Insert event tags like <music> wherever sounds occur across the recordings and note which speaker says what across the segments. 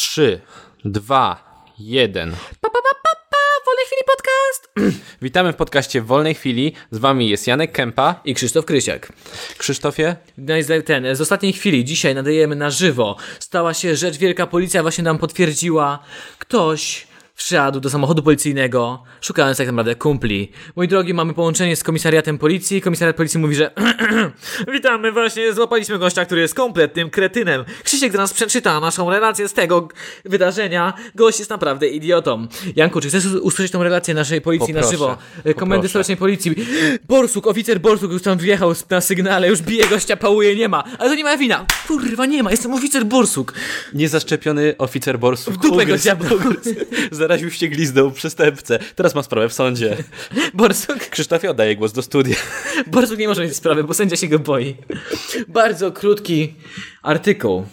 Speaker 1: 3, 2, 1.
Speaker 2: Pa, pa, pa, pa, pa, wolnej chwili podcast!
Speaker 1: Witamy w podcaście Wolnej Chwili. Z wami jest Janek Kępa.
Speaker 2: I Krzysztof Krysiak.
Speaker 1: Krzysztofie,
Speaker 2: No i z- ten, z ostatniej chwili, dzisiaj nadajemy na żywo. Stała się rzecz wielka, policja właśnie nam potwierdziła. Ktoś wszedł do samochodu policyjnego, szukając tak naprawdę kumpli. Mój drogi, mamy połączenie z komisariatem policji. Komisariat policji mówi, że <clears throat> witamy właśnie, złapaliśmy gościa, który jest kompletnym kretynem. Krzysiek do nas przeczyta naszą relację z tego g- wydarzenia. Gość jest naprawdę idiotą. Janku, czy chcesz us- usłyszeć tą relację naszej policji na
Speaker 1: Poproszę,
Speaker 2: żywo? E, Komendy
Speaker 1: poproszę.
Speaker 2: Stołecznej Policji. Borsuk, oficer Borsuk już tam wjechał na sygnale, już bije gościa, pałuje, nie ma. Ale to nie moja wina. Kurwa, nie ma, jestem oficer Borsuk.
Speaker 1: niezaszczepiony oficer borsu. W
Speaker 2: dupę go diabła.
Speaker 1: <laughs> Zaraził się glizdą przestępcę. Teraz ma sprawę w sądzie.
Speaker 2: <laughs> Borsuk,
Speaker 1: Krzysztofie oddaje głos do studia.
Speaker 2: Borsuk nie może mieć sprawy, bo sędzia się go boi. Bardzo krótki artykuł.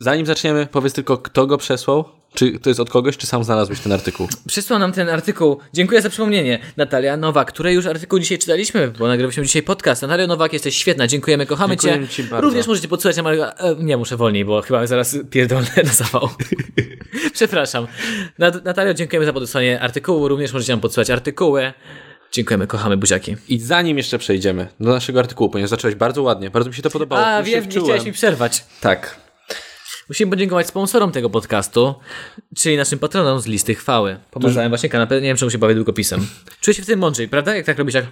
Speaker 1: Zanim zaczniemy, powiedz tylko, kto go przesłał? Czy to jest od kogoś, czy sam znalazłeś ten artykuł?
Speaker 2: Przysłał nam ten artykuł, dziękuję za przypomnienie, Natalia Nowak, której już artykuł dzisiaj czytaliśmy, bo nagrywaliśmy dzisiaj podcast. Natalia Nowak, jesteś świetna, dziękujemy, kochamy
Speaker 1: Dziękujemy
Speaker 2: cię.
Speaker 1: ci bardzo.
Speaker 2: Również możecie podsłuchać na mojego... E, nie, muszę wolniej, bo chyba zaraz pierdolę na
Speaker 1: <laughs>
Speaker 2: zawał. Przepraszam. Nat- Natalio, dziękujemy za podesłanie artykułu, również możecie nam podsłuchać artykuły. Dziękujemy, kochamy buziaki.
Speaker 1: I zanim jeszcze przejdziemy do naszego artykułu, ponieważ zacząłeś bardzo ładnie, bardzo mi się to podobało.
Speaker 2: A,
Speaker 1: Już się
Speaker 2: wiem, nie chciałeś mi przerwać.
Speaker 1: Tak.
Speaker 2: Musimy podziękować sponsorom tego podcastu, czyli naszym patronom z listy chwały. Pomazałem właśnie kanapę, nie wiem czemu się bawię długopisem. Czuję się w tym mądrzej, prawda? Jak tak robisz, jak...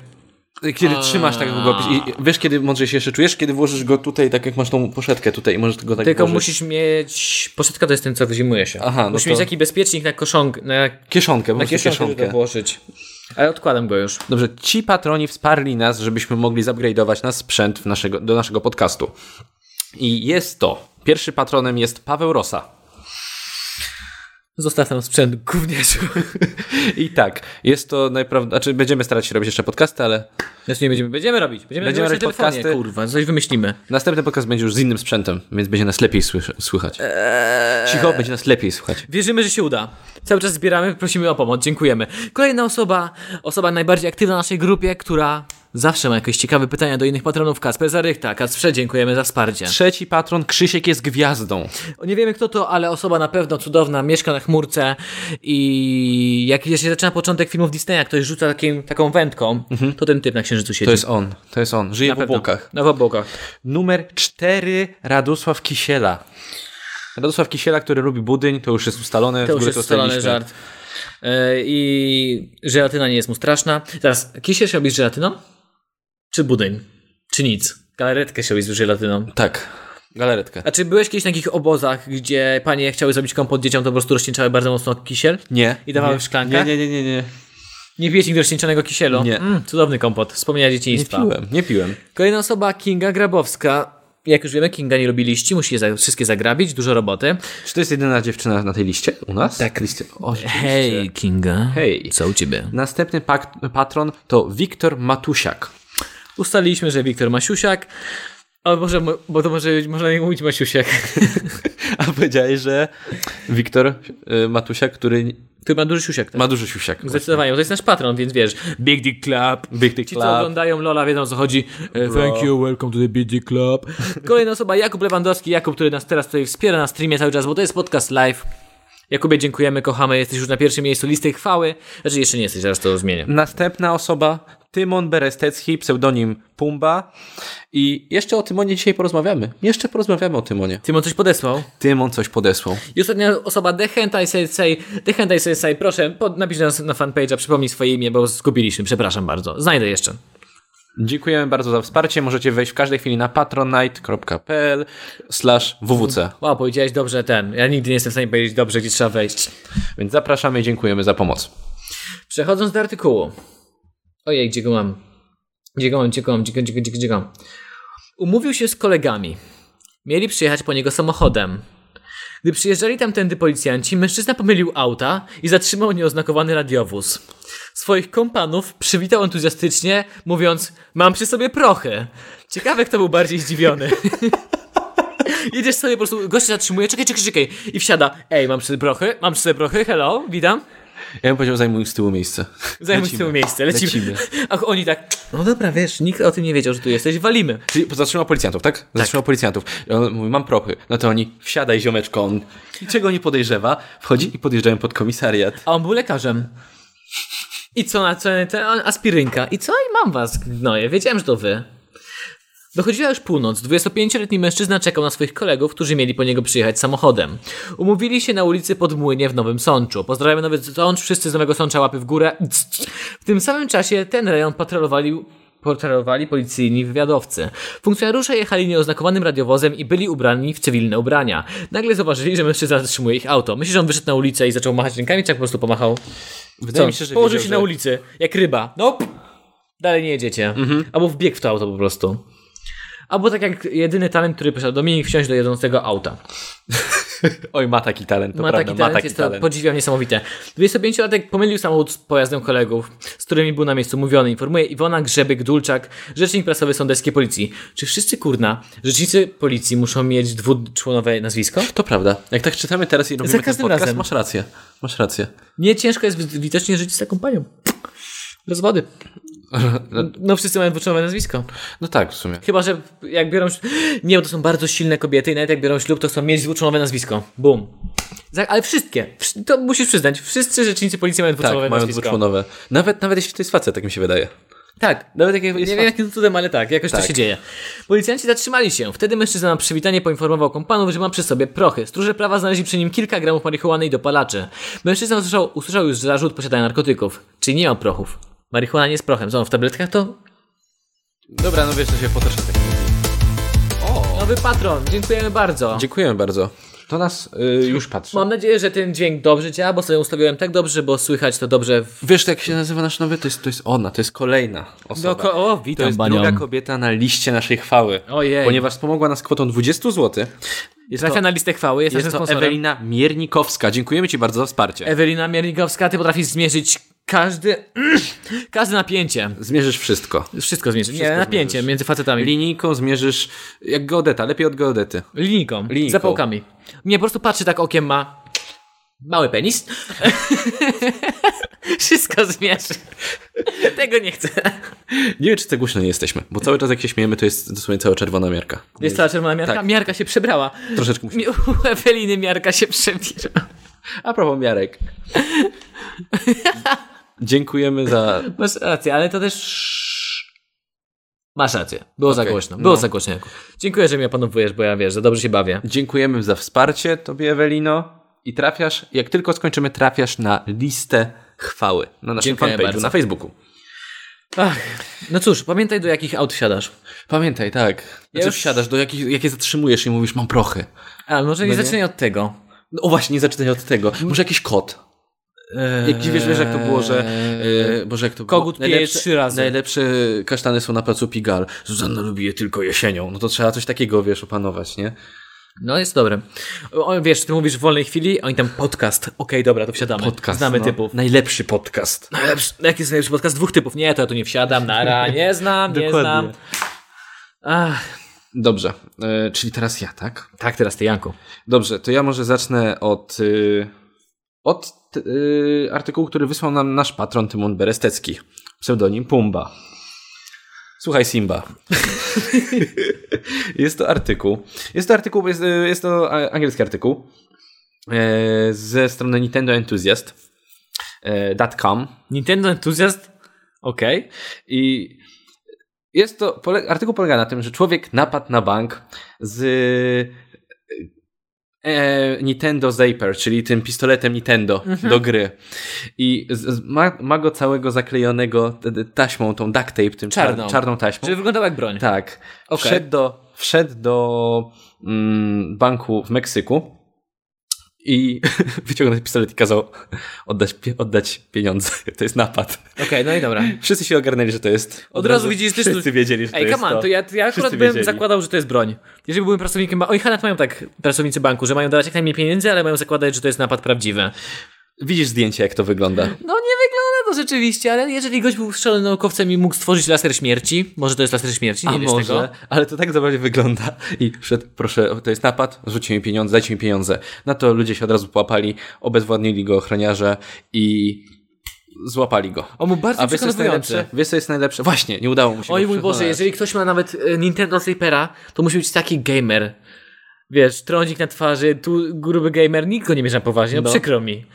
Speaker 1: Kiedy trzymasz tak długopis i i wiesz, kiedy mądrzej się jeszcze czujesz, kiedy włożysz go tutaj, tak jak masz tą poszetkę tutaj i możesz go tak
Speaker 2: Tylko
Speaker 1: włożyć.
Speaker 2: musisz mieć. Poszetka to jest ten, co wyzimuje się.
Speaker 1: Aha, no
Speaker 2: musisz
Speaker 1: to-
Speaker 2: mieć taki bezpiecznik na koszonk. Na,
Speaker 1: Kieszonkę, po
Speaker 2: na
Speaker 1: prostu
Speaker 2: Tak, kieszonkę, żeby
Speaker 1: kieszonkę.
Speaker 2: go włożyć. Ale odkładam go już.
Speaker 1: Dobrze, ci patroni wsparli nas, żebyśmy mogli upgrade'ować nasz sprzęt w naszego, do naszego podcastu. I jest to. Pierwszy patronem jest Paweł Rosa.
Speaker 2: Zostaw tam sprzęt, gówniarzu.
Speaker 1: I tak, jest to najprawdopodobniej, znaczy będziemy starać się robić jeszcze podcasty, ale
Speaker 2: <laughs> Znaczy nie będziemy, będziemy robić. Będziemy,
Speaker 1: Będziemy
Speaker 2: robić
Speaker 1: robić
Speaker 2: podcasty.
Speaker 1: podcasty.
Speaker 2: Kurwa, coś wymyślimy.
Speaker 1: następny podcast będzie już z innym sprzętem, więc będzie nas lepiej słysz- słychać.
Speaker 2: Eee.
Speaker 1: Cicho, będzie nas lepiej słychać.
Speaker 2: Wierzymy, że się uda. Cały czas zbieramy, prosimy o pomoc, dziękujemy. Kolejna osoba, osoba najbardziej aktywna w naszej grupie, która zawsze ma jakieś ciekawe pytania do innych patronów. Kasper Zarychta, Kasprze, dziękujemy za wsparcie.
Speaker 1: Trzeci patron, Krzysiek jest gwiazdą.
Speaker 2: Nie wiemy kto to, ale osoba na pewno cudowna, mieszka na chmurce i jak się zaczyna początek filmów Disneya, ktoś rzuca takim, taką wędką, to ten typ na księżycu siedzi.
Speaker 1: Mhm. To jest on, to jest on, żyje
Speaker 2: na
Speaker 1: w obłokach.
Speaker 2: No w obłokach.
Speaker 1: Numer 4 Radosław Kisiela. Radosław Kisiela, który lubi budyń, to już jest ustalone.
Speaker 2: To
Speaker 1: w
Speaker 2: już
Speaker 1: ogóle
Speaker 2: jest ustalony
Speaker 1: ustaliliśmy.
Speaker 2: żart. Yy, I żelatyna nie jest mu straszna. Teraz, kisiel się robi z żelatyną? Czy budyń? Czy nic? Galaretkę się robi z żelatyną.
Speaker 1: Tak, galaretkę.
Speaker 2: A czy byłeś kiedyś na takich obozach, gdzie panie chciały zrobić kompot dzieciom, to po prostu rozcieńczały bardzo mocno kisiel?
Speaker 1: Nie.
Speaker 2: I dawały
Speaker 1: nie.
Speaker 2: w szklankach?
Speaker 1: Nie, nie, nie, nie, nie.
Speaker 2: Nie piłeś nigdy rozcieńczonego kisielu?
Speaker 1: Nie.
Speaker 2: Mm, cudowny kompot, wspomnienia
Speaker 1: Nie
Speaker 2: dzieciństwa.
Speaker 1: piłem, nie piłem.
Speaker 2: Kolejna osoba, Kinga Grabowska. Jak już wiemy, Kinga nie lubi liści, musi je za, wszystkie zagrabić, dużo roboty.
Speaker 1: Czy to jest jedyna dziewczyna na tej liście u nas?
Speaker 2: Tak.
Speaker 1: Liście. O, rzeczywiście.
Speaker 2: Hej, Kinga.
Speaker 1: Hej.
Speaker 2: Co u ciebie?
Speaker 1: Następny pak- patron to Wiktor Matusiak.
Speaker 2: Ustaliliśmy, że Wiktor Masiusiak. O, może, bo to może, można nie mówić <laughs> Masiusiak.
Speaker 1: A powiedziałeś, że Wiktor y, Matusiak, który
Speaker 2: Który ma duży siusiak. Tak?
Speaker 1: ma duży siusiak.
Speaker 2: Zdecydowanie, bo to jest nasz patron, więc wiesz. Big Dick Club.
Speaker 1: Big Dick
Speaker 2: Ci, co
Speaker 1: Club.
Speaker 2: oglądają Lola, wiedzą o co chodzi. E, Thank you, welcome to the Big Dick Club. <laughs> Kolejna osoba, Jakub Lewandowski. Jakub, który nas teraz tutaj wspiera na streamie cały czas, bo to jest podcast live. Jakubie, dziękujemy, kochamy. Jesteś już na pierwszym miejscu listy chwały. Znaczy, jeszcze nie jesteś, zaraz to zmienię.
Speaker 1: Następna osoba Tymon Berestecki, pseudonim Pumba. I jeszcze o Tymonie dzisiaj porozmawiamy. Jeszcze porozmawiamy o Tymonie.
Speaker 2: Tymon coś podesłał.
Speaker 1: Tymon coś podesłał.
Speaker 2: I ostatnia osoba, Dehentai Sensei. Dehentai Sensei, proszę, pod, napisz nas na fanpage'a, przypomnij swoje imię, bo zgubiliśmy, przepraszam bardzo. Znajdę jeszcze.
Speaker 1: Dziękujemy bardzo za wsparcie. Możecie wejść w każdej chwili na patronite.pl slash wwc.
Speaker 2: Wow, powiedziałeś dobrze ten. Ja nigdy nie jestem w stanie powiedzieć dobrze, gdzie trzeba wejść.
Speaker 1: Więc zapraszamy i dziękujemy za pomoc.
Speaker 2: Przechodząc do artykułu. Ojej, gdzie go mam? Gdzie go mam, gdzie go mam, gdzie go, gdzie go, gdzie go, gdzie go mam? Umówił się z kolegami. Mieli przyjechać po niego samochodem. Gdy przyjeżdżali tamtędy policjanci, mężczyzna pomylił auta i zatrzymał nieoznakowany radiowóz. Swoich kompanów przywitał entuzjastycznie, mówiąc: Mam przy sobie prochy. Ciekawe, kto był bardziej zdziwiony. <laughs> Jedziesz sobie po prostu, gość się zatrzymuje, czekaj, czekaj, czekaj. I wsiada: Ej, mam przy sobie prochy, mam przy sobie prochy, hello, witam.
Speaker 1: Ja bym powiedział, zajmuj z tyłu miejsce.
Speaker 2: Zajmuj z tyłu miejsce, lecimy.
Speaker 1: Lecimy.
Speaker 2: <laughs> A oni tak, no dobra, wiesz, nikt o tym nie wiedział, że tu jesteś, walimy.
Speaker 1: Czyli zatrzymał policjantów, tak? Zatrzymał policjantów. I on mówi, mam propy. No to oni, wsiadaj ziomeczko. On niczego nie podejrzewa. Wchodzi i podjeżdżają pod komisariat.
Speaker 2: A on był lekarzem. I co na co ten a- aspirynka? I co? I mam was, gnoje. Wiedziałem, że to wy. Dochodziła już północ. 25-letni mężczyzna czekał na swoich kolegów, którzy mieli po niego przyjechać samochodem. Umówili się na ulicy pod Młynie w Nowym Sączu. Pozdrawiamy Nowy Sącz, wszyscy z Nowego Sącza łapy w górę. W tym samym czasie ten rejon patrolowali portrowali policyjni wywiadowcy. Funkcjonariusze jechali nieoznakowanym radiowozem i byli ubrani w cywilne ubrania. Nagle zauważyli, że mężczyzna zatrzymuje ich auto. Myślisz, że on wyszedł na ulicę i zaczął machać rękami, czy tak po prostu pomachał?
Speaker 1: Wydaje
Speaker 2: Co?
Speaker 1: mi się, że
Speaker 2: Położył
Speaker 1: wiedział,
Speaker 2: się na
Speaker 1: że-
Speaker 2: ulicy, jak ryba. No, p- dalej nie jedziecie.
Speaker 1: Mhm.
Speaker 2: Albo wbiegł w to auto po prostu. Albo tak jak jedyny talent, który posiadał Dominik, wsiąść do jedzącego auta.
Speaker 1: Oj, ma taki talent, to
Speaker 2: Ma
Speaker 1: prawda.
Speaker 2: taki talent,
Speaker 1: ma taki
Speaker 2: jest
Speaker 1: talent.
Speaker 2: to podziwiam niesamowite. 25-latek pomylił samochód z pojazdem kolegów, z którymi był na miejscu mówiony. Informuje Iwona Grzebyk-Dulczak, rzecznik prasowy Sądeckiej Policji. Czy wszyscy, kurna, rzecznicy policji muszą mieć dwuczłonowe nazwisko?
Speaker 1: To prawda. Jak tak czytamy teraz i robimy
Speaker 2: Za każdym
Speaker 1: ten podcast,
Speaker 2: razem.
Speaker 1: masz rację. Masz rację.
Speaker 2: Nie ciężko jest wi- widocznie żyć z taką panią. Bez wody.
Speaker 1: <laughs>
Speaker 2: No wszyscy mają dwuczłonowe nazwisko.
Speaker 1: No tak, w sumie.
Speaker 2: Chyba, że jak biorą ślub... Nie, bo to są bardzo silne kobiety i nawet jak biorą ślub, to chcą mieć dwuczłonowe nazwisko. Bum. Za- Ale wszystkie. Wsz- To musisz przyznać. Wszyscy rzecznicy policji mają
Speaker 1: Tak,
Speaker 2: dwuczłonowe
Speaker 1: mają
Speaker 2: nazwisko.
Speaker 1: dwuczłonowe. Nawet, nawet jeśli to jest facet, tak mi się wydaje.
Speaker 2: Tak.
Speaker 1: Nawet jak jest
Speaker 2: Nie wiem
Speaker 1: facet.
Speaker 2: jakim cudem, ale tak, jakoś
Speaker 1: Tak.
Speaker 2: to się dzieje. Policjanci zatrzymali się. Wtedy mężczyzna na przywitanie poinformował kompanów, że ma przy sobie prochy. Stróże prawa znaleźli przy nim kilka gramów marihuany i dopalaczy. Mężczyzna usłyszał, usłyszał już zarzut posiadania narkotyków, czyli nie ma prochów. Marihuana nie jest prochem. Są w tabletkach to?
Speaker 1: Dobra, no wiesz, to się potoczy tak. O!
Speaker 2: Nowy patron, dziękujemy bardzo.
Speaker 1: Dziękujemy bardzo. To nas y, już patrzy.
Speaker 2: Mam nadzieję, że ten dźwięk dobrze działa, bo sobie ustawiłem tak dobrze, bo słychać to dobrze w...
Speaker 1: Wiesz, jak się nazywa nasz nowy? To jest, to jest ona, to jest kolejna osoba.
Speaker 2: Doko- No o,
Speaker 1: to
Speaker 2: witam
Speaker 1: jest
Speaker 2: panią.
Speaker 1: druga kobieta na liście naszej chwały.
Speaker 2: Ojej.
Speaker 1: Ponieważ pomogła nas kwotą 20 zł. Jest
Speaker 2: Trafia
Speaker 1: to,
Speaker 2: na listę chwały, jest,
Speaker 1: jest
Speaker 2: naszym
Speaker 1: to
Speaker 2: sponsorem. E-
Speaker 1: Ewelina Miernikowska. Dziękujemy Ci bardzo za wsparcie.
Speaker 2: Ewelina Miernikowska, ty potrafisz zmierzyć każdy... <clears throat> każde napięcie.
Speaker 1: Zmierzysz wszystko.
Speaker 2: Wszystko zmierzyć. Nie,
Speaker 1: Wszystko
Speaker 2: napięcie
Speaker 1: zmierzysz.
Speaker 2: między facetami.
Speaker 1: Linijką zmierzysz jak geodeta, lepiej od geodety.
Speaker 2: linijką,
Speaker 1: Linijką.
Speaker 2: Zapałkami. Mnie po prostu patrzy tak okiem ma... Mały penis. <laughs> Wszystko zmierzy. Tego nie chcę.
Speaker 1: Nie wiem, czy tak głośno nie jesteśmy, bo cały czas jak się śmiejemy, to jest dosłownie cała czerwona miarka.
Speaker 2: Jest cała czerwona miarka.
Speaker 1: Tak.
Speaker 2: Miarka się przebrała.
Speaker 1: Troszeczkę musimy.
Speaker 2: Mi- U Eweliny miarka się przebiera.
Speaker 1: A propos miarek. Dziękujemy za...
Speaker 2: Masz rację, ale to też. Masz rację. Było za
Speaker 1: Okej,
Speaker 2: głośno. Było
Speaker 1: no.
Speaker 2: za głośno. Jaku. Dziękuję, że mnie opanowujesz, bo ja wiesz, że dobrze się bawię.
Speaker 1: Dziękujemy za wsparcie Tobie, Ewelino. I trafiasz, jak tylko skończymy, trafiasz na listę chwały na naszym
Speaker 2: Dziękuję
Speaker 1: fanpage'u,
Speaker 2: bardzo.
Speaker 1: na Facebooku.
Speaker 2: Ach, no cóż, pamiętaj do jakich aut wsiadasz.
Speaker 1: Pamiętaj, tak. Znaczy,
Speaker 2: Ja już-
Speaker 1: wsiadasz, do jakich, jakie zatrzymujesz i mówisz, mam prochy.
Speaker 2: A może nie
Speaker 1: nie?
Speaker 2: zaczynaj od tego.
Speaker 1: No o właśnie, nie zaczynaj od tego. Może jakiś kot.
Speaker 2: Eee...
Speaker 1: Jak wiesz, wiesz, jak to było, że... Yy, Boże, jak to było?
Speaker 2: Kogut pije trzy razy.
Speaker 1: Najlepsze kasztany są na placu Pigal. Zuzanna lubi je tylko jesienią. No to trzeba coś takiego, wiesz, opanować, nie?
Speaker 2: No jest dobre. O, wiesz, ty mówisz w wolnej chwili, oni tam podcast. Okej, dobra, to wsiadamy.
Speaker 1: Podcast.
Speaker 2: Znamy
Speaker 1: no.
Speaker 2: typów.
Speaker 1: Najlepszy podcast.
Speaker 2: Najlepszy, jaki jest najlepszy podcast? Dwóch typów. Nie, to ja tu nie wsiadam, nara, nie znam, nie
Speaker 1: Dokładnie.
Speaker 2: znam. Ach,
Speaker 1: Dobrze, e, czyli teraz ja, tak?
Speaker 2: tak teraz ty, Janku.
Speaker 1: Dobrze, to ja może zacznę od, y, od t- y, artykułu, który wysłał nam nasz patron Tymon Berestecki. Pseudonim Pumba. Słuchaj Simba. <laughs> jest to artykuł. Jest to artykuł, jest, y, jest to a- angielski artykuł e, ze strony Nintendo Enthusiast. e, dot .com
Speaker 2: Nintendo entuzjast? Okej.
Speaker 1: i jest to, pole, artykuł polega na tym, że człowiek napadł na bank z e, Nintendo Zaper, czyli tym pistoletem Nintendo
Speaker 2: Mhm.
Speaker 1: do gry. I z, z, ma, ma go całego zaklejonego t- t- taśmą, tą duct tape, tym czar-
Speaker 2: Czarną.
Speaker 1: czarną taśmą.
Speaker 2: Czyli wyglądał jak broń.
Speaker 1: Tak.
Speaker 2: Okej.
Speaker 1: Wszedł do, wszedł do mm, banku w Meksyku i <laughs> wyciągnął pistolet i kazał oddać, pie- oddać pieniądze. <laughs> To jest napad.
Speaker 2: Okej, no i dobra.
Speaker 1: Wszyscy się ogarnęli, że to jest.
Speaker 2: Od razu widzisz, ty
Speaker 1: Wszyscy
Speaker 2: stu-
Speaker 1: wiedzieli, że to
Speaker 2: Ej,
Speaker 1: jest
Speaker 2: come on, to ja, to ja akurat
Speaker 1: Wszyscy
Speaker 2: bym
Speaker 1: wiedzieli.
Speaker 2: zakładał, że to jest broń. Jeżeli byłem pracownikiem banku, oni chyba mają tak, pracownicy banku, że mają dawać jak najmniej pieniędzy, ale mają zakładać, że to jest napad prawdziwy.
Speaker 1: Widzisz zdjęcie, jak to wygląda.
Speaker 2: No nie wygląda to rzeczywiście, ale jeżeli gość był strzelony naukowcem i mógł stworzyć laser śmierci, może to jest laser śmierci, nie
Speaker 1: A
Speaker 2: wiesz
Speaker 1: może,
Speaker 2: tego.
Speaker 1: ale to tak zabawnie wygląda. I wszedł, proszę, to jest napad, rzućcie mi pieniądze, dajcie mi pieniądze. Na to ludzie się od razu połapali, obezwładnili go ochroniarze i złapali go.
Speaker 2: On był bardzo
Speaker 1: A wiesz co jest
Speaker 2: przekonujący.
Speaker 1: najlepsze? Wiesz co jest najlepsze? Właśnie, nie udało mu się
Speaker 2: Oj
Speaker 1: go
Speaker 2: mój Boże,
Speaker 1: przekonać.
Speaker 2: jeżeli ktoś ma nawet e, Nintendo Sleepera, to musi być taki gamer. Wiesz, trądzik na twarzy, tu gruby gamer, nikt go nie bierze na poważnie, no,
Speaker 1: No.
Speaker 2: przykro mi.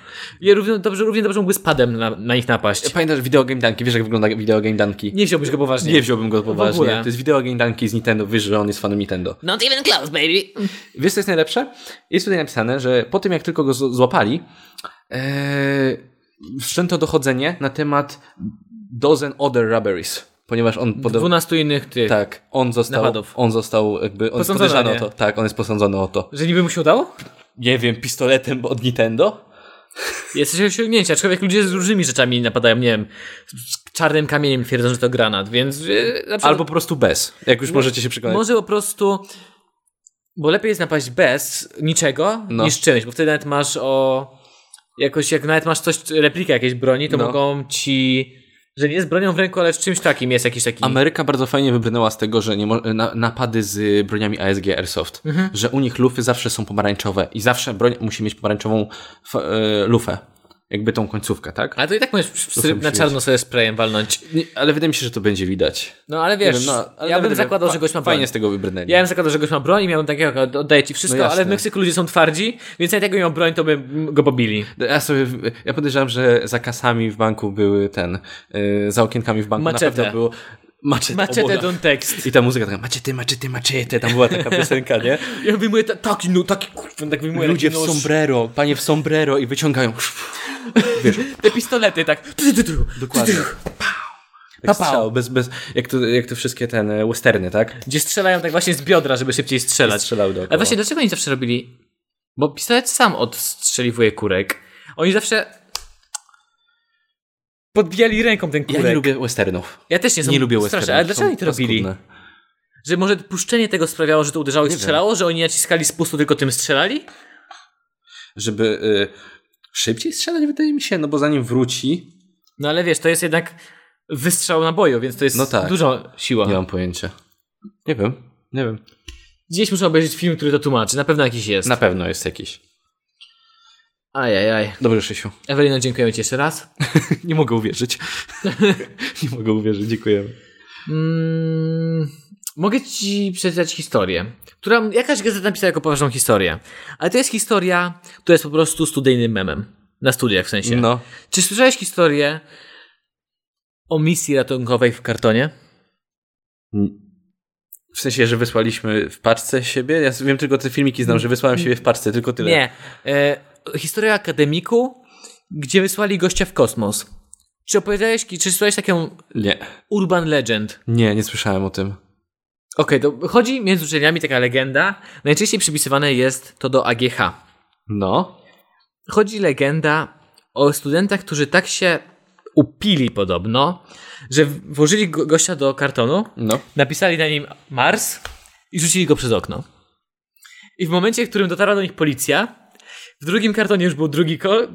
Speaker 2: Ja równie dobrze, równie dobrze mógłby z padem na, na nich napaść.
Speaker 1: Pamiętasz Videogame Dunki? Wiesz jak wygląda Videogame Dunki?
Speaker 2: Nie wziąłbyś go poważnie.
Speaker 1: Nie wziąłbym go poważnie.
Speaker 2: ogóle.
Speaker 1: To jest Videogame Dunki z Nintendo. Wiesz, że on jest fanem Nintendo.
Speaker 2: Not even close, baby.
Speaker 1: Wiesz, co jest najlepsze? Jest tutaj napisane, że po tym, jak tylko go z- złapali, ee, wszczęto dochodzenie na temat dozen other robberies, ponieważ on podobno...
Speaker 2: 12 innych tych.
Speaker 1: Tak, on został,
Speaker 2: Napadów.
Speaker 1: on został jakby, on jest
Speaker 2: Posądzony,
Speaker 1: podejrzany o
Speaker 2: nie?
Speaker 1: to. Tak, on jest posądzony o to.
Speaker 2: Że niby mu się udało?
Speaker 1: Nie wiem, pistoletem od Nintendo?
Speaker 2: Jesteś osiągnięcia, aczkolwiek ludzie z różnymi rzeczami napadają, nie wiem, z czarnym kamieniem twierdzą, że to granat, więc e, No, na przykład
Speaker 1: Albo po prostu bez, jak już możecie się przekonać.
Speaker 2: może po prostu, bo lepiej jest napaść bez niczego
Speaker 1: No.
Speaker 2: niż czymś, bo wtedy nawet masz o, jakoś jak nawet masz coś, replikę jakiejś broni, to
Speaker 1: No.
Speaker 2: mogą ci, że nie z bronią w ręku, ale z czymś takim jest jakiś taki...
Speaker 1: Ameryka bardzo fajnie wybrnęła z tego, że nie mo- na, napady z broniami ASG Airsoft, że u nich lufy zawsze są pomarańczowe i zawsze broń musi mieć pomarańczową f- e, lufę, jakby tą końcówkę, tak?
Speaker 2: ale to i tak możesz w
Speaker 1: sobie
Speaker 2: syryp na
Speaker 1: musi
Speaker 2: czarno sobie sprayem walnąć.
Speaker 1: Nie, ale wydaje mi się, że to będzie widać.
Speaker 2: No ale
Speaker 1: Nie
Speaker 2: wiesz,
Speaker 1: wiem, no, ale
Speaker 2: ja
Speaker 1: nawet
Speaker 2: bym
Speaker 1: wiem,
Speaker 2: zakładał,
Speaker 1: fa-
Speaker 2: że gość ma broń.
Speaker 1: Fajnie z tego wybrnęli.
Speaker 2: Ja bym zakładał, że gość ma broń i miałbym takiego, oddaję ci wszystko,
Speaker 1: No jasne.
Speaker 2: ale w Meksyku ludzie są twardzi, więc jak tego miał broń, to by m, go pobili.
Speaker 1: Ja sobie, ja podejrzewam, że za kasami w banku były ten, yy, za okienkami w banku
Speaker 2: Maczete.
Speaker 1: na pewno było maczete. o
Speaker 2: Maczete
Speaker 1: Boga.
Speaker 2: don tekst.
Speaker 1: I ta muzyka taka maczety, maczety, maczety, tam była taka piosenka, nie?
Speaker 2: Ja wyjmuję ta, taki, no taki, kurwa, tak wyjmuję
Speaker 1: Ludzie w
Speaker 2: taki nóż.
Speaker 1: sombrero, panie w sombrero i wyciągają.
Speaker 2: Te pistolety, tak.
Speaker 1: Dokładnie.
Speaker 2: Pa,
Speaker 1: Tak
Speaker 2: pa.
Speaker 1: strzał, bez, bez, jak, to, jak to wszystkie ten e, westerny, tak?
Speaker 2: Gdzie strzelają tak właśnie z biodra, żeby szybciej strzelać.
Speaker 1: Strzelały dookoła.
Speaker 2: Ale właśnie, dlaczego oni zawsze robili? Bo pistolet sam odstrzeliwuje kurek. Oni zawsze podbijali ręką ten
Speaker 1: ja
Speaker 2: kurek.
Speaker 1: nie lubię westernów.
Speaker 2: Ja też nie, są
Speaker 1: nie lubię
Speaker 2: straszne,
Speaker 1: westernów.
Speaker 2: Ale dlaczego
Speaker 1: są
Speaker 2: oni to robili?
Speaker 1: paskudne.
Speaker 2: Że może puszczenie tego sprawiało, że to uderzało i
Speaker 1: Nie wiem.
Speaker 2: strzelało? Że oni naciskali z pustu, tylko tym strzelali?
Speaker 1: Żeby y, szybciej strzelać, wydaje mi się, no bo zanim wróci,
Speaker 2: No ale wiesz, to jest jednak wystrzał naboju, więc to jest
Speaker 1: No tak.
Speaker 2: duża siła.
Speaker 1: nie mam pojęcia. Nie wiem, nie wiem.
Speaker 2: Gdzieś muszę obejrzeć film, który to tłumaczy. Na pewno jakiś jest.
Speaker 1: Na pewno jest jakiś.
Speaker 2: Ajajaj.
Speaker 1: Dobrze, Szysiu.
Speaker 2: Ewelino, dziękujemy Ci jeszcze raz.
Speaker 1: <laughs> Nie mogę uwierzyć. <laughs> nie mogę uwierzyć, dziękujemy.
Speaker 2: Mm, mogę Ci przeczytać historię, która jakaś gazeta napisała jako poważną historię. Ale to jest historia, która jest po prostu studyjnym memem. Na studiach w sensie.
Speaker 1: No,
Speaker 2: Czy słyszałeś historię o misji ratunkowej w kartonie?
Speaker 1: w sensie, że wysłaliśmy w paczce siebie? Ja wiem tylko te filmiki znam, że wysłałem siebie w paczce, tylko tyle.
Speaker 2: Nie. E, historia akademiku, gdzie wysłali gościa w kosmos. Czy opowiadałeś, czy słyszałeś taką
Speaker 1: Nie,
Speaker 2: urban legend?
Speaker 1: nie, nie słyszałem o tym.
Speaker 2: Okej, to chodzi między uczelniami taka legenda. Najczęściej przypisywane jest to do AGH.
Speaker 1: No,
Speaker 2: Chodzi legenda o studentach, którzy tak się upili podobno, że w- włożyli go- gościa do kartonu,
Speaker 1: no.
Speaker 2: napisali na nim Mars i rzucili go przez okno. I w momencie, w którym dotarła do nich policja, w drugim kartonie już był drugi ko-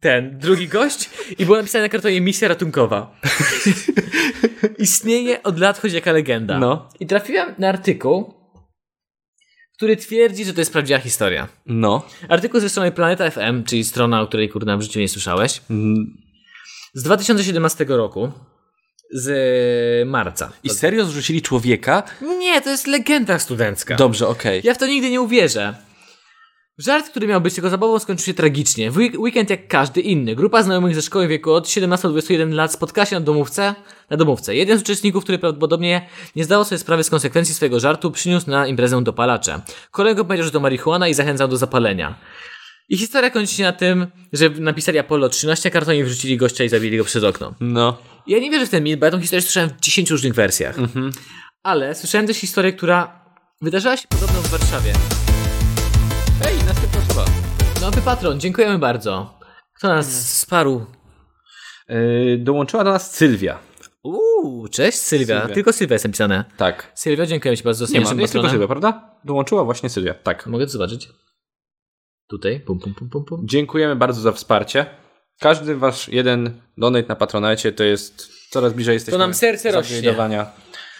Speaker 2: ten, drugi gość i było napisane na kartonie misja ratunkowa. <laughs> Istnieje od lat choć jaka legenda.
Speaker 1: No.
Speaker 2: I trafiłem na artykuł, który twierdzi, że to jest prawdziwa historia.
Speaker 1: No.
Speaker 2: Artykuł ze strony Planeta FM, czyli strona, o której kurna w życiu nie słyszałeś,
Speaker 1: Mm,
Speaker 2: z 2017 roku, z marca.
Speaker 1: I serio zrzucili człowieka?
Speaker 2: Nie, to jest legenda studencka.
Speaker 1: Dobrze, okej.
Speaker 2: Tak. Ja w to nigdy nie uwierzę. Żart, który miał być tylko zabawą, skończył się tragicznie. W week- weekend jak każdy inny. Grupa znajomych ze szkoły w wieku od 17 do 21 lat spotkała się na domówce. Na domówce. Jeden z uczestników, który prawdopodobnie nie zdawał sobie sprawy z konsekwencji swojego żartu, przyniósł na imprezę dopalacze. Kolego powiedział, że to marihuana i zachęcał do zapalenia. I historia kończy się na tym, że napisali Apollo 13 kartonie, wrzucili gościa i zabili go przez okno.
Speaker 1: No.
Speaker 2: Ja nie wierzę w ten mit, bo ja tą historię słyszałem w 10 różnych wersjach.
Speaker 1: Mhm.
Speaker 2: Ale słyszałem też historię, która wydarzyła się podobno w Warszawie.
Speaker 1: Ej, następna osoba.
Speaker 2: Nowy patron, dziękujemy bardzo. Kto nas sparł?
Speaker 1: Yy, dołączyła do nas Sylwia.
Speaker 2: Uuu, cześć Sylwia.
Speaker 1: Sylwia.
Speaker 2: Tylko Sylwia jest napisane.
Speaker 1: Tak.
Speaker 2: Sylwia, dziękujemy Ci bardzo za
Speaker 1: Nie ma,
Speaker 2: naszym
Speaker 1: jest tylko
Speaker 2: patronem.
Speaker 1: Sylwia, prawda? Dołączyła właśnie Sylwia, tak.
Speaker 2: Mogę to zobaczyć? Tutaj, pum, pum, pum, pum, pum.
Speaker 1: Dziękujemy bardzo za wsparcie. Każdy wasz jeden donate na Patronite to jest coraz bliżej jesteśmy
Speaker 2: To nam serce rośnie.
Speaker 1: zagnieźdowania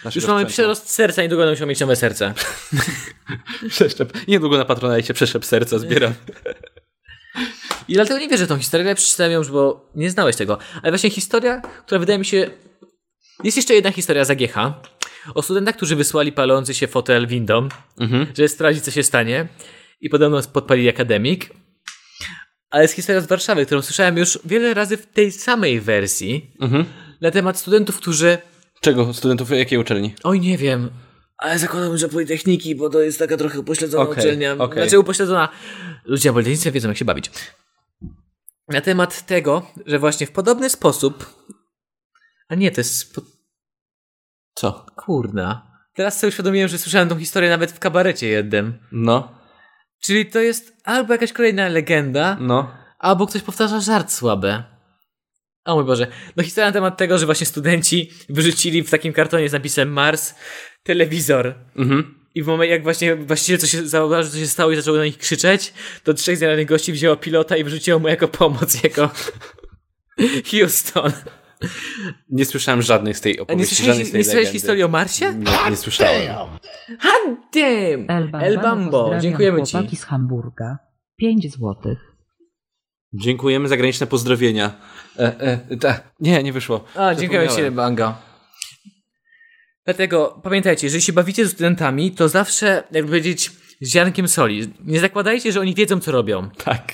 Speaker 1: naszego
Speaker 2: Już mamy
Speaker 1: sprzętu.
Speaker 2: przerost serca, niedługo będą się mieć nowe serce.
Speaker 1: Przeszczep. Niedługo na Patronite przeszczep serca zbieram.
Speaker 2: I dlatego nie wierzę w tą historię, ale przeczytałem ją już, bo nie znałeś tego. Ale właśnie historia, która wydaje mi się... Jest jeszcze jedna historia z AGH. O studentach, którzy wysłali palący się fotel windą, żeby sprawdzić, co się stanie. I podobno podpalili akademik. Ale jest historia z Warszawy, którą słyszałem już wiele razy w tej samej wersji na temat studentów, którzy...
Speaker 1: Czego? Studentów jakiej uczelni?
Speaker 2: Oj, nie wiem. Ale zakładam, że Politechniki, bo to jest taka trochę upośledzona
Speaker 1: Okej,
Speaker 2: uczelnia.
Speaker 1: okej.
Speaker 2: Znaczy upośledzona. Ludzie na Politechnice wiedzą, jak się bawić. Na temat tego, że właśnie w podobny sposób... A nie, to jest... spo-
Speaker 1: Co?
Speaker 2: Kurna. Teraz sobie uświadomiłem, że słyszałem tą historię nawet w kabarecie jednym.
Speaker 1: No,
Speaker 2: Czyli to jest albo jakaś kolejna legenda,
Speaker 1: no.
Speaker 2: albo ktoś powtarza żart słaby. O mój Boże. No historia na temat tego, że właśnie studenci wyrzucili w takim kartonie z napisem Mars telewizor.
Speaker 1: Mhm.
Speaker 2: I w momencie, jak właśnie właściciel co się zauważył, co się stało i zaczął na nich krzyczeć, to trzech zjadanych gości wzięło pilota i wrzuciło mu jako pomoc, <laughs> jako Houston.
Speaker 1: Nie słyszałem żadnych z tej
Speaker 2: A nie
Speaker 1: opowieści, żadnej
Speaker 2: słyszałeś,
Speaker 1: z tej
Speaker 2: nie słyszałeś
Speaker 1: legendy.
Speaker 2: historii o Marsie?
Speaker 1: Nie, nie słyszałem.
Speaker 2: Hot damn!
Speaker 3: El Bambo, pozdrawiam
Speaker 2: dziękujemy ci.
Speaker 3: chłopaki z Hamburga. 5 złotych.
Speaker 1: Dziękujemy za graniczne pozdrowienia. E, e, ta. Nie, nie wyszło.
Speaker 2: A, dziękuję
Speaker 1: Zapomniałem.
Speaker 2: Ci, Bango. Dlatego pamiętajcie, jeżeli się bawicie ze studentami, to zawsze, jakby powiedzieć, z ziarnkiem soli. Nie zakładajcie, że oni wiedzą, co robią.
Speaker 1: Tak.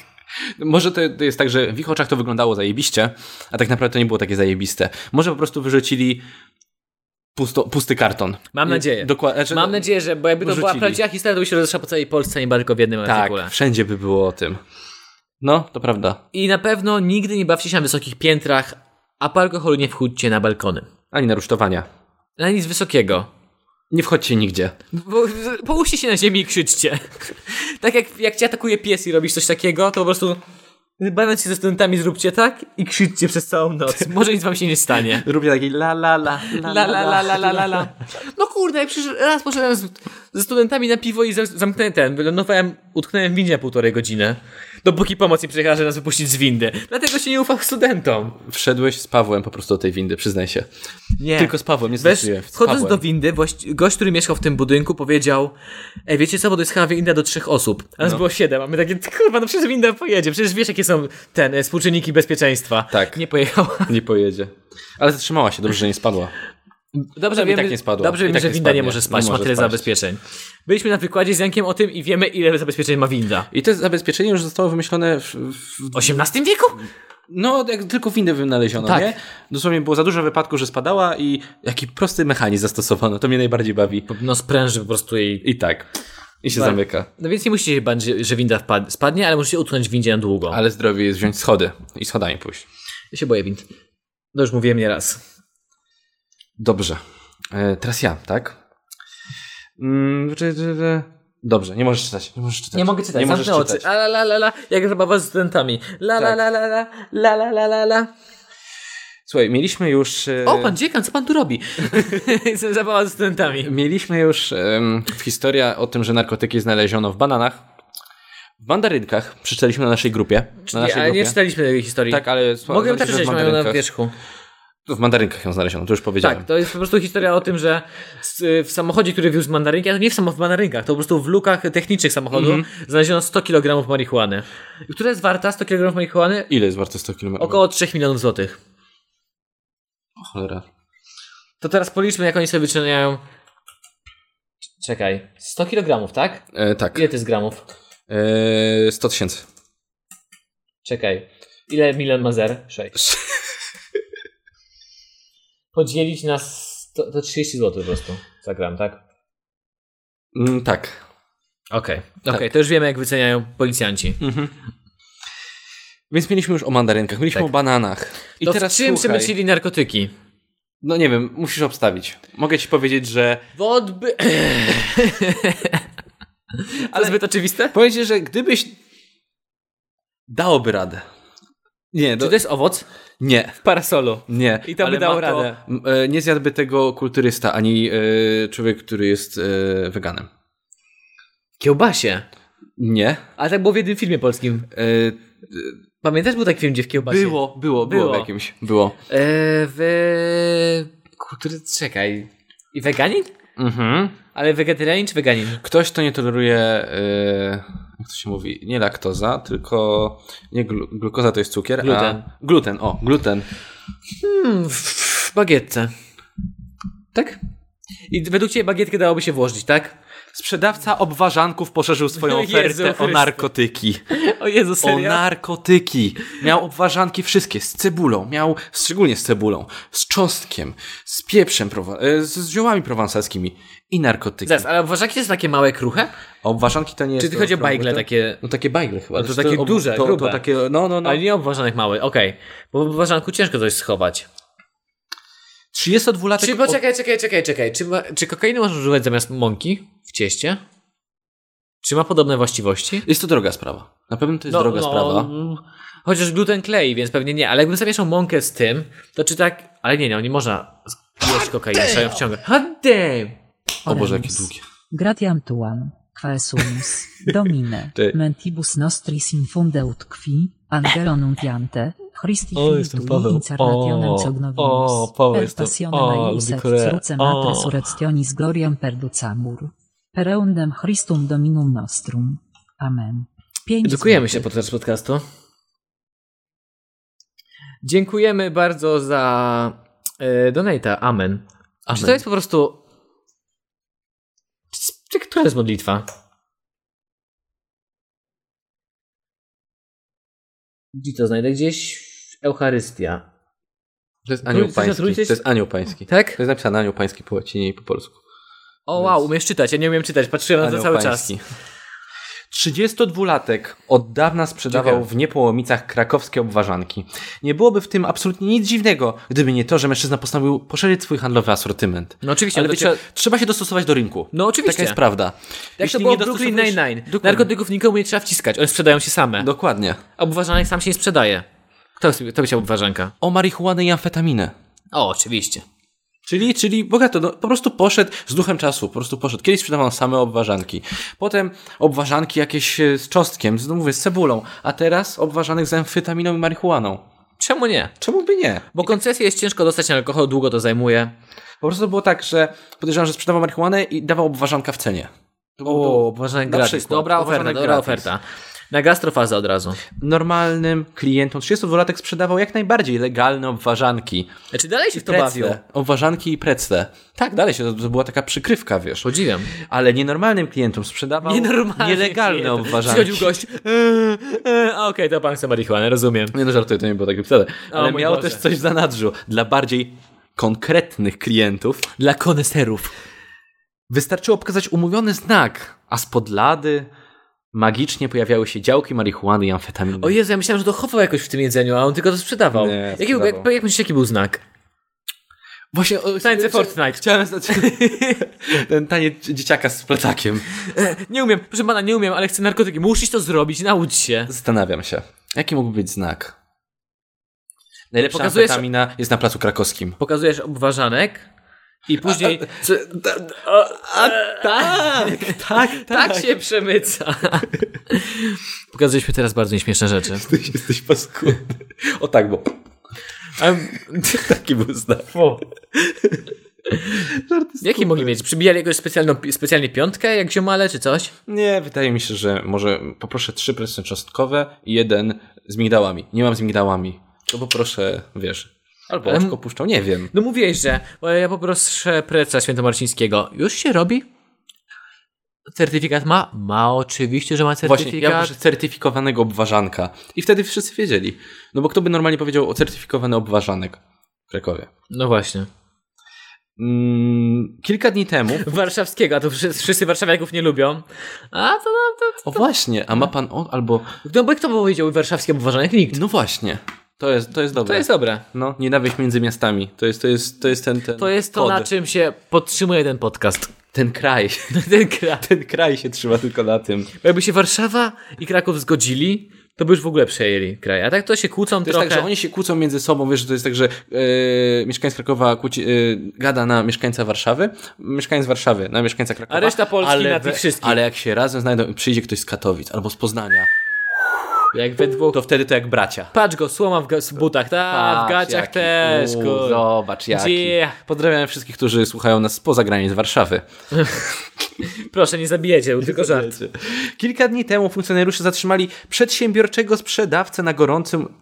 Speaker 1: Może to to jest tak, że w ich oczach to wyglądało zajebiście, a tak naprawdę to nie było takie zajebiste. Może po prostu wyrzucili pusto, pusty karton.
Speaker 2: Mam nadzieję.
Speaker 1: Dokładnie. Znaczy,
Speaker 2: Mam nadzieję, że bo jakby to była
Speaker 1: Wrzucili.
Speaker 2: prawdziwa historia, to by się rozeszła po całej Polsce, nie tylko w jednym
Speaker 1: Tak,
Speaker 2: artykule.
Speaker 1: wszędzie by było o tym. No, to prawda.
Speaker 2: I na pewno nigdy nie bawcie się na wysokich piętrach, a po alkoholu nie wchódźcie na balkony.
Speaker 1: Ani narusztowania.
Speaker 2: Na nic wysokiego.
Speaker 1: Nie wchodźcie nigdzie.
Speaker 2: Bo, połóżcie się na ziemi i krzyczcie. <laughs> tak jak, jak cię atakuje pies i robisz coś takiego, to po prostu bawiąc się ze studentami zróbcie tak i krzyczcie przez całą
Speaker 1: <laughs>
Speaker 2: noc. Może nic wam się nie stanie.
Speaker 1: Róbcie taki la la la.
Speaker 2: La la la la la la la. No kurde, jak przecież raz poszedłem z, ze studentami na piwo i za- zamknąłem ten, wylądowałem, utknąłem w windzie na półtorej godziny. Dopóki pomoc nie przyjechała, żeby nas wypuścić z windy. Dlatego się nie ufa studentom.
Speaker 1: Wszedłeś z Pawłem po prostu do tej windy, przyznaj się.
Speaker 2: Nie.
Speaker 1: Tylko z Pawłem, nie
Speaker 2: Wiesz,
Speaker 1: zdecydujesz. Z
Speaker 2: wchodząc
Speaker 1: Pawłem.
Speaker 2: do windy, właści- gość, który mieszkał w tym budynku, powiedział: Ej, wiecie co, bo to jest chyba winda do trzech osób. A nas
Speaker 1: No.
Speaker 2: było siedem, a my takie, kurwa, no przecież winda pojedzie, przecież wiesz, jakie są ten, e, współczynniki bezpieczeństwa.
Speaker 1: Tak.
Speaker 2: Nie pojechała.
Speaker 1: Nie pojedzie. Ale zatrzymała się, dobrze, że nie spadła.
Speaker 2: Dobrze
Speaker 1: i
Speaker 2: wiemy,
Speaker 1: tak nie spadła.
Speaker 2: Dobrze
Speaker 1: I
Speaker 2: wiemy,
Speaker 1: tak
Speaker 2: że
Speaker 1: nie
Speaker 2: winda nie
Speaker 1: spadnie.
Speaker 2: może spać,
Speaker 1: Nie
Speaker 2: ma
Speaker 1: może
Speaker 2: tyle
Speaker 1: spaść.
Speaker 2: zabezpieczeń. Byliśmy na wykładzie z Jankiem o tym i wiemy, ile zabezpieczeń ma winda.
Speaker 1: I to zabezpieczenie już zostało wymyślone w, w
Speaker 2: W XVIII wieku?
Speaker 1: No, jak tylko windę wynaleziono,
Speaker 2: Tak.
Speaker 1: nie? Dosłownie było za dużo wypadków, że spadała i jaki prosty mechanizm zastosowano. To mnie najbardziej bawi.
Speaker 2: No spręży po prostu jej.
Speaker 1: I tak. I się
Speaker 2: Tak.
Speaker 1: zamyka.
Speaker 2: No więc nie musicie się bać, że- że winda wpad- spadnie, ale możecie utknąć w windzie na długo.
Speaker 1: Ale zdrowie jest wziąć schody i schodami pójść.
Speaker 2: Ja się boję wind. No już mówiłem nieraz.
Speaker 1: Dobrze. E, teraz ja, tak? Mm, czy- czy- czy- Dobrze, nie możesz czytać. Nie możesz czytać.
Speaker 2: Tak. Nie mogę czytać,
Speaker 1: Nie możesz
Speaker 2: zamknę oczy.
Speaker 1: czytać.
Speaker 2: A la la la la, jak zabawa z studentami. La la
Speaker 1: Tak.
Speaker 2: la la la, la la la la la.
Speaker 1: Słuchaj, mieliśmy już... e,
Speaker 2: O, pan dziekan, co pan tu <laughs> robi? zabawa z studentami.
Speaker 1: Mieliśmy już em, historię o tym, że narkotyki znaleziono w bananach, w mandarynkach. Przeczytaliśmy na naszej grupie. Na
Speaker 2: Nie,
Speaker 1: naszej
Speaker 2: ale
Speaker 1: grupie.
Speaker 2: nie czytaliśmy tej historii.
Speaker 1: Tak, ale...
Speaker 2: Mogę
Speaker 1: znaleźliśmy, że
Speaker 2: ją
Speaker 1: w
Speaker 2: tak przeczytać, mam ją na
Speaker 1: mandarynkach.
Speaker 2: wierzchu.
Speaker 1: W mandarynkach ją znaleziono, to już powiedziałem.
Speaker 2: Tak, to jest po prostu historia o tym, że s- y, w samochodzie, który wiózł mandarynki, ale to nie w, samo, w mandarynkach, to po prostu w lukach technicznych samochodu znaleziono 100 kg marihuany. Która jest warta, 100 kg marihuany?
Speaker 1: Ile jest warte 100 km?
Speaker 2: Około 3 milionów złotych.
Speaker 1: no, Cholera.
Speaker 2: To teraz policzmy, jak oni sobie wyczyniają... Czekaj, 100 kg, tak?
Speaker 1: E, tak.
Speaker 2: Ile to jest gramów?
Speaker 1: E, 100 tysięcy.
Speaker 2: Czekaj. Ile Milan ma zer? <laughs> 6. Podzielić na 100, to 30 zł po prostu. Zagram, tak?
Speaker 1: Mm, tak.
Speaker 2: Okej. Okej, to już wiemy, jak wyceniają policjanci.
Speaker 1: Mm. Więc mieliśmy już o mandarynkach, mieliśmy
Speaker 2: Tak.
Speaker 1: o bananach. I
Speaker 2: to
Speaker 1: teraz
Speaker 2: w czym
Speaker 1: słuchaj,
Speaker 2: przemycili narkotyki?
Speaker 1: No nie wiem, musisz obstawić. Mogę ci powiedzieć, że... <clears throat>
Speaker 2: W odby... Ale zbyt oczywiste?
Speaker 1: Powiem ci, że gdybyś... Dałoby radę. Nie,
Speaker 2: Czy
Speaker 1: do...
Speaker 2: to jest owoc?
Speaker 1: nie.
Speaker 2: W parasolu.
Speaker 1: Nie,
Speaker 2: I to by
Speaker 1: ale
Speaker 2: dało
Speaker 1: ma
Speaker 2: radę.
Speaker 1: m, e, nie zjadłby tego kulturysta, ani e, człowiek, który jest e, weganem.
Speaker 2: Kiełbasie.
Speaker 1: Nie.
Speaker 2: Ale tak było w jednym filmie polskim.
Speaker 1: E,
Speaker 2: Pamiętasz, był taki film, gdzie w kiełbasie?
Speaker 1: było, było, było w
Speaker 2: Było.
Speaker 1: jakimś. Było.
Speaker 2: E, w... Który... Czekaj. I weganin?
Speaker 1: Mhm.
Speaker 2: Ale wegetarianin czy weganin?
Speaker 1: Ktoś, kto nie toleruje, e, jak to się mówi, nie laktoza, tylko nie glu, glukoza to jest cukier,
Speaker 2: Gluten.
Speaker 1: a gluten, o, gluten.
Speaker 2: Hmm, w, w bagietce. Tak? I według ciebie bagietkę dałoby się włożyć, tak?
Speaker 1: Sprzedawca obwarzanków poszerzył swoją
Speaker 2: <laughs> Jezu
Speaker 1: ofertę o
Speaker 2: Chryste.
Speaker 1: narkotyki.
Speaker 2: O Jezu,
Speaker 1: O
Speaker 2: serio?
Speaker 1: narkotyki. Miał obwarzanki wszystkie z cebulą, miał szczególnie z cebulą, z cząstkiem, z pieprzem, prowa- e, z, z ziołami prowansalskimi i narkotyki.
Speaker 2: Zaraz, ale uważacie, że jest takie małe, kruche?
Speaker 1: A obwarzanki to nie jest...
Speaker 2: Czy ty chodzi o
Speaker 1: okrągłe,
Speaker 2: bajgle
Speaker 1: to-
Speaker 2: takie...
Speaker 1: No takie bajgle chyba.
Speaker 2: No to
Speaker 1: Znaczy,
Speaker 2: takie
Speaker 1: ob-
Speaker 2: duże,
Speaker 1: to, to
Speaker 2: grube.
Speaker 1: takie, no, no, no.
Speaker 2: Ale nie obważanych małych, okej. Bo w obważanku ciężko coś schować.
Speaker 1: 32-latek...
Speaker 2: Czy, poczekaj, czekaj, czekaj, czekaj. Czy, ma, czy kokainy można używać zamiast mąki w cieście? Czy ma podobne właściwości?
Speaker 1: Jest to droga sprawa. Na pewno to jest droga sprawa.
Speaker 2: No, mm, Chociaż gluten klei, więc pewnie nie, ale jakbym zamieszał mąkę z tym, to czy tak. Ale nie, nie, nie można z- jeść kokainy, trzeba ją wciągać. Hot damn!
Speaker 1: O Boże, jakie
Speaker 3: Oremus.
Speaker 1: długie.
Speaker 3: Gratiam tuan,
Speaker 2: <laughs>
Speaker 3: quesumus, domine,
Speaker 1: Ty.
Speaker 3: mentibus nostris infunde ut qui, angelonum piante, Christi
Speaker 2: O, jestem
Speaker 3: filii
Speaker 2: Paweł.
Speaker 3: tui incarnationem
Speaker 2: O,
Speaker 3: cognovimus,
Speaker 2: o, Paweł
Speaker 3: per
Speaker 2: jestem.
Speaker 3: passionem
Speaker 2: O,
Speaker 3: eius
Speaker 2: lubię
Speaker 3: et
Speaker 2: Koreę.
Speaker 3: crucem
Speaker 2: O.
Speaker 3: at resurrectionis gloriam perducamur, pereundem Christum dominum nostrum. Amen. Pięć
Speaker 2: Edukujemy się
Speaker 3: złotych.
Speaker 2: podczas podcastu. Dziękujemy bardzo za e, donata. Amen.
Speaker 1: Amen.
Speaker 2: Czy to jest po prostu. Czy, czy która jest modlitwa? Gdzie to znajdę? Gdzieś Eucharystia.
Speaker 1: To jest
Speaker 2: Trój-
Speaker 1: anioł
Speaker 2: coś na
Speaker 1: pański.
Speaker 2: trójce-
Speaker 1: To jest anioł pański. To
Speaker 2: Tak?
Speaker 1: jest napisane anioł pański po łacinie i po polsku.
Speaker 2: O wow, umiesz czytać. Ja nie umiem czytać. Patrzyłem na to
Speaker 1: Anioł
Speaker 2: cały
Speaker 1: pański.
Speaker 2: czas.
Speaker 1: 32-latek od dawna sprzedawał
Speaker 2: Dziękuję.
Speaker 1: w niepołomicach krakowskie obwarzanki. Nie byłoby w tym absolutnie nic dziwnego, gdyby nie to, że mężczyzna postanowił poszerzyć swój handlowy asortyment.
Speaker 2: No oczywiście,
Speaker 1: Ale
Speaker 2: ale
Speaker 1: wiecie, trzeba się dostosować do rynku.
Speaker 2: No oczywiście.
Speaker 1: Taka jest prawda.
Speaker 2: Jak to
Speaker 1: Jeśli
Speaker 2: było
Speaker 1: nie
Speaker 2: w Brooklyn
Speaker 1: dostosowujesz-
Speaker 2: Nine-Nine.
Speaker 1: Dokładnie.
Speaker 2: Narkotyków nikomu nie trzeba wciskać. One sprzedają się same.
Speaker 1: Dokładnie.
Speaker 2: Obważanek sam się nie sprzedaje. Kto, kto chciał obważanka?
Speaker 1: O marihuanę i amfetaminę.
Speaker 2: O, oczywiście.
Speaker 1: Czyli, czyli bogato, no, po prostu poszedł z duchem czasu, po prostu poszedł. Kiedyś sprzedawał same obwarzanki. Potem obwarzanki jakieś e, z cząstkiem, z, no mówię, z cebulą, a teraz obwarzanek z amfetaminą i marihuaną.
Speaker 2: Czemu nie?
Speaker 1: Czemu by nie?
Speaker 2: Bo koncesję jest ciężko dostać na alkohol, długo to zajmuje.
Speaker 1: Po prostu było tak, że podejrzewam, że sprzedawał marihuanę i dawał obwarzanka w cenie. To był-
Speaker 2: O,
Speaker 1: był
Speaker 2: obważanek
Speaker 1: Na
Speaker 2: gratis.
Speaker 1: przykład,
Speaker 2: dobra oferta,
Speaker 1: obważanek
Speaker 2: dobra
Speaker 1: gratis.
Speaker 2: oferta. Na gastrofazę od razu.
Speaker 1: normalnym klientom 32-latek sprzedawał jak najbardziej legalne obwarzanki.
Speaker 2: Znaczy dalej się w to bawią.
Speaker 1: Precle. Obwarzanki i precle. Tak, dalej się, to, to była taka przykrywka, wiesz.
Speaker 2: Podziwiam.
Speaker 1: Ale nienormalnym klientom sprzedawał nielegalne obwarzanki.
Speaker 2: Przychodził gość. Eee, eee, a okej, to pan chce marihuanę, rozumiem.
Speaker 1: Nie no żartuję, to nie było tak napisane. Ale
Speaker 2: mój
Speaker 1: miało
Speaker 2: Boże.
Speaker 1: też coś w zanadrzu. Dla bardziej konkretnych klientów
Speaker 2: Dla koneserów.
Speaker 1: wystarczyło pokazać umówiony znak, a spod lady magicznie pojawiały się działki marihuany i amfetaminy.
Speaker 2: O Jezu, ja myślałem, że to chował jakoś w tym jedzeniu, a on tylko to sprzedawał.
Speaker 1: Nie,
Speaker 2: jaki,
Speaker 1: sprzedawał.
Speaker 2: Jak, jak myślisz, jaki był znak?
Speaker 1: Właśnie o,
Speaker 2: Tańce Fortnite.
Speaker 1: Chciałem znać <laughs> ten taniec dzieciaka z plecakiem.
Speaker 2: Nie umiem, proszę pana, nie umiem, ale chcę narkotyki. Musisz to zrobić, naucz się.
Speaker 1: Zastanawiam się, jaki mógł być znak? Najlepsza
Speaker 2: Pokazujesz-
Speaker 1: amfetamina jest na placu krakowskim.
Speaker 2: Pokazujesz obważanek i później... tak,
Speaker 1: Tak,
Speaker 2: tak się <laughs> przemyca. Pokazujesz mi teraz bardzo nieśmieszne rzeczy.
Speaker 1: <laughs> Ty jesteś paskudny. O tak, bo <laughs> taki był znak.
Speaker 2: Jaki mogli mieć? Przybijali jakąś specjalną, specjalnie piątkę, jak ziomale, czy coś?
Speaker 1: Nie, wydaje mi się, że może poproszę trzy presy cząstkowe i jeden z migdałami. Nie mam z migdałami. To poproszę, wiesz, albo
Speaker 2: Ale-
Speaker 1: oczko puszczą, nie wiem.
Speaker 2: No mówiłeś, że o, ja poproszę preca świętomarcińskiego. Już się robi? Certyfikat ma? Ma, oczywiście, że ma certyfikat.
Speaker 1: Właśnie, ja proszę certyfikowanego obważanka. I wtedy wszyscy wiedzieli. No bo kto by normalnie powiedział o certyfikowany obważanek w Krakowie?
Speaker 2: No właśnie.
Speaker 1: Mm, kilka dni temu...
Speaker 2: Warszawskiego, a to wszyscy wszyscy warszawiaków nie lubią. A to... to, to.
Speaker 1: O właśnie, a ma pan on albo...
Speaker 2: No bo kto powiedział warszawski obważanek? Nikt.
Speaker 1: No właśnie, to jest, to jest dobre.
Speaker 2: To jest dobre.
Speaker 1: No, nienawiść między miastami. To jest, to jest, to jest ten, ten
Speaker 2: To jest to,
Speaker 1: kod.
Speaker 2: na czym się podtrzymuje ten podcast.
Speaker 1: Ten
Speaker 2: <laughs>
Speaker 1: kraj.
Speaker 2: Ten kraj.
Speaker 1: Ten kraj się trzyma tylko na tym.
Speaker 2: Jakby się Warszawa i Kraków zgodzili, to by już w ogóle przejęli kraj. A tak to się kłócą
Speaker 1: To jest
Speaker 2: trochę.
Speaker 1: tak, że oni się kłócą między sobą, wiesz, że to jest tak, że e, mieszkańc Krakowa kłóci, e, gada na mieszkańca Warszawy, mieszkańc Warszawy na mieszkańca Krakowa.
Speaker 2: A reszta Polski
Speaker 1: ale
Speaker 2: na tych
Speaker 1: we-
Speaker 2: wszystkich.
Speaker 1: Ale jak się razem znajdą i przyjdzie ktoś z Katowic albo z Poznania,
Speaker 2: Jak we dwóch.
Speaker 1: to wtedy to jak bracia.
Speaker 2: Patrz go, słoma w, ga- w butach, ta, w
Speaker 1: Patrz,
Speaker 2: gaciach
Speaker 1: jaki-
Speaker 2: też,
Speaker 1: uuu,
Speaker 2: kur...
Speaker 1: Zobacz, jaki.
Speaker 2: Gdzie?
Speaker 1: Pozdrawiam wszystkich, którzy słuchają nas spoza granic Warszawy.
Speaker 2: Proszę, nie zabijecie, tylko żart.
Speaker 1: Kilka dni temu funkcjonariusze zatrzymali przedsiębiorczego sprzedawcę na gorącym.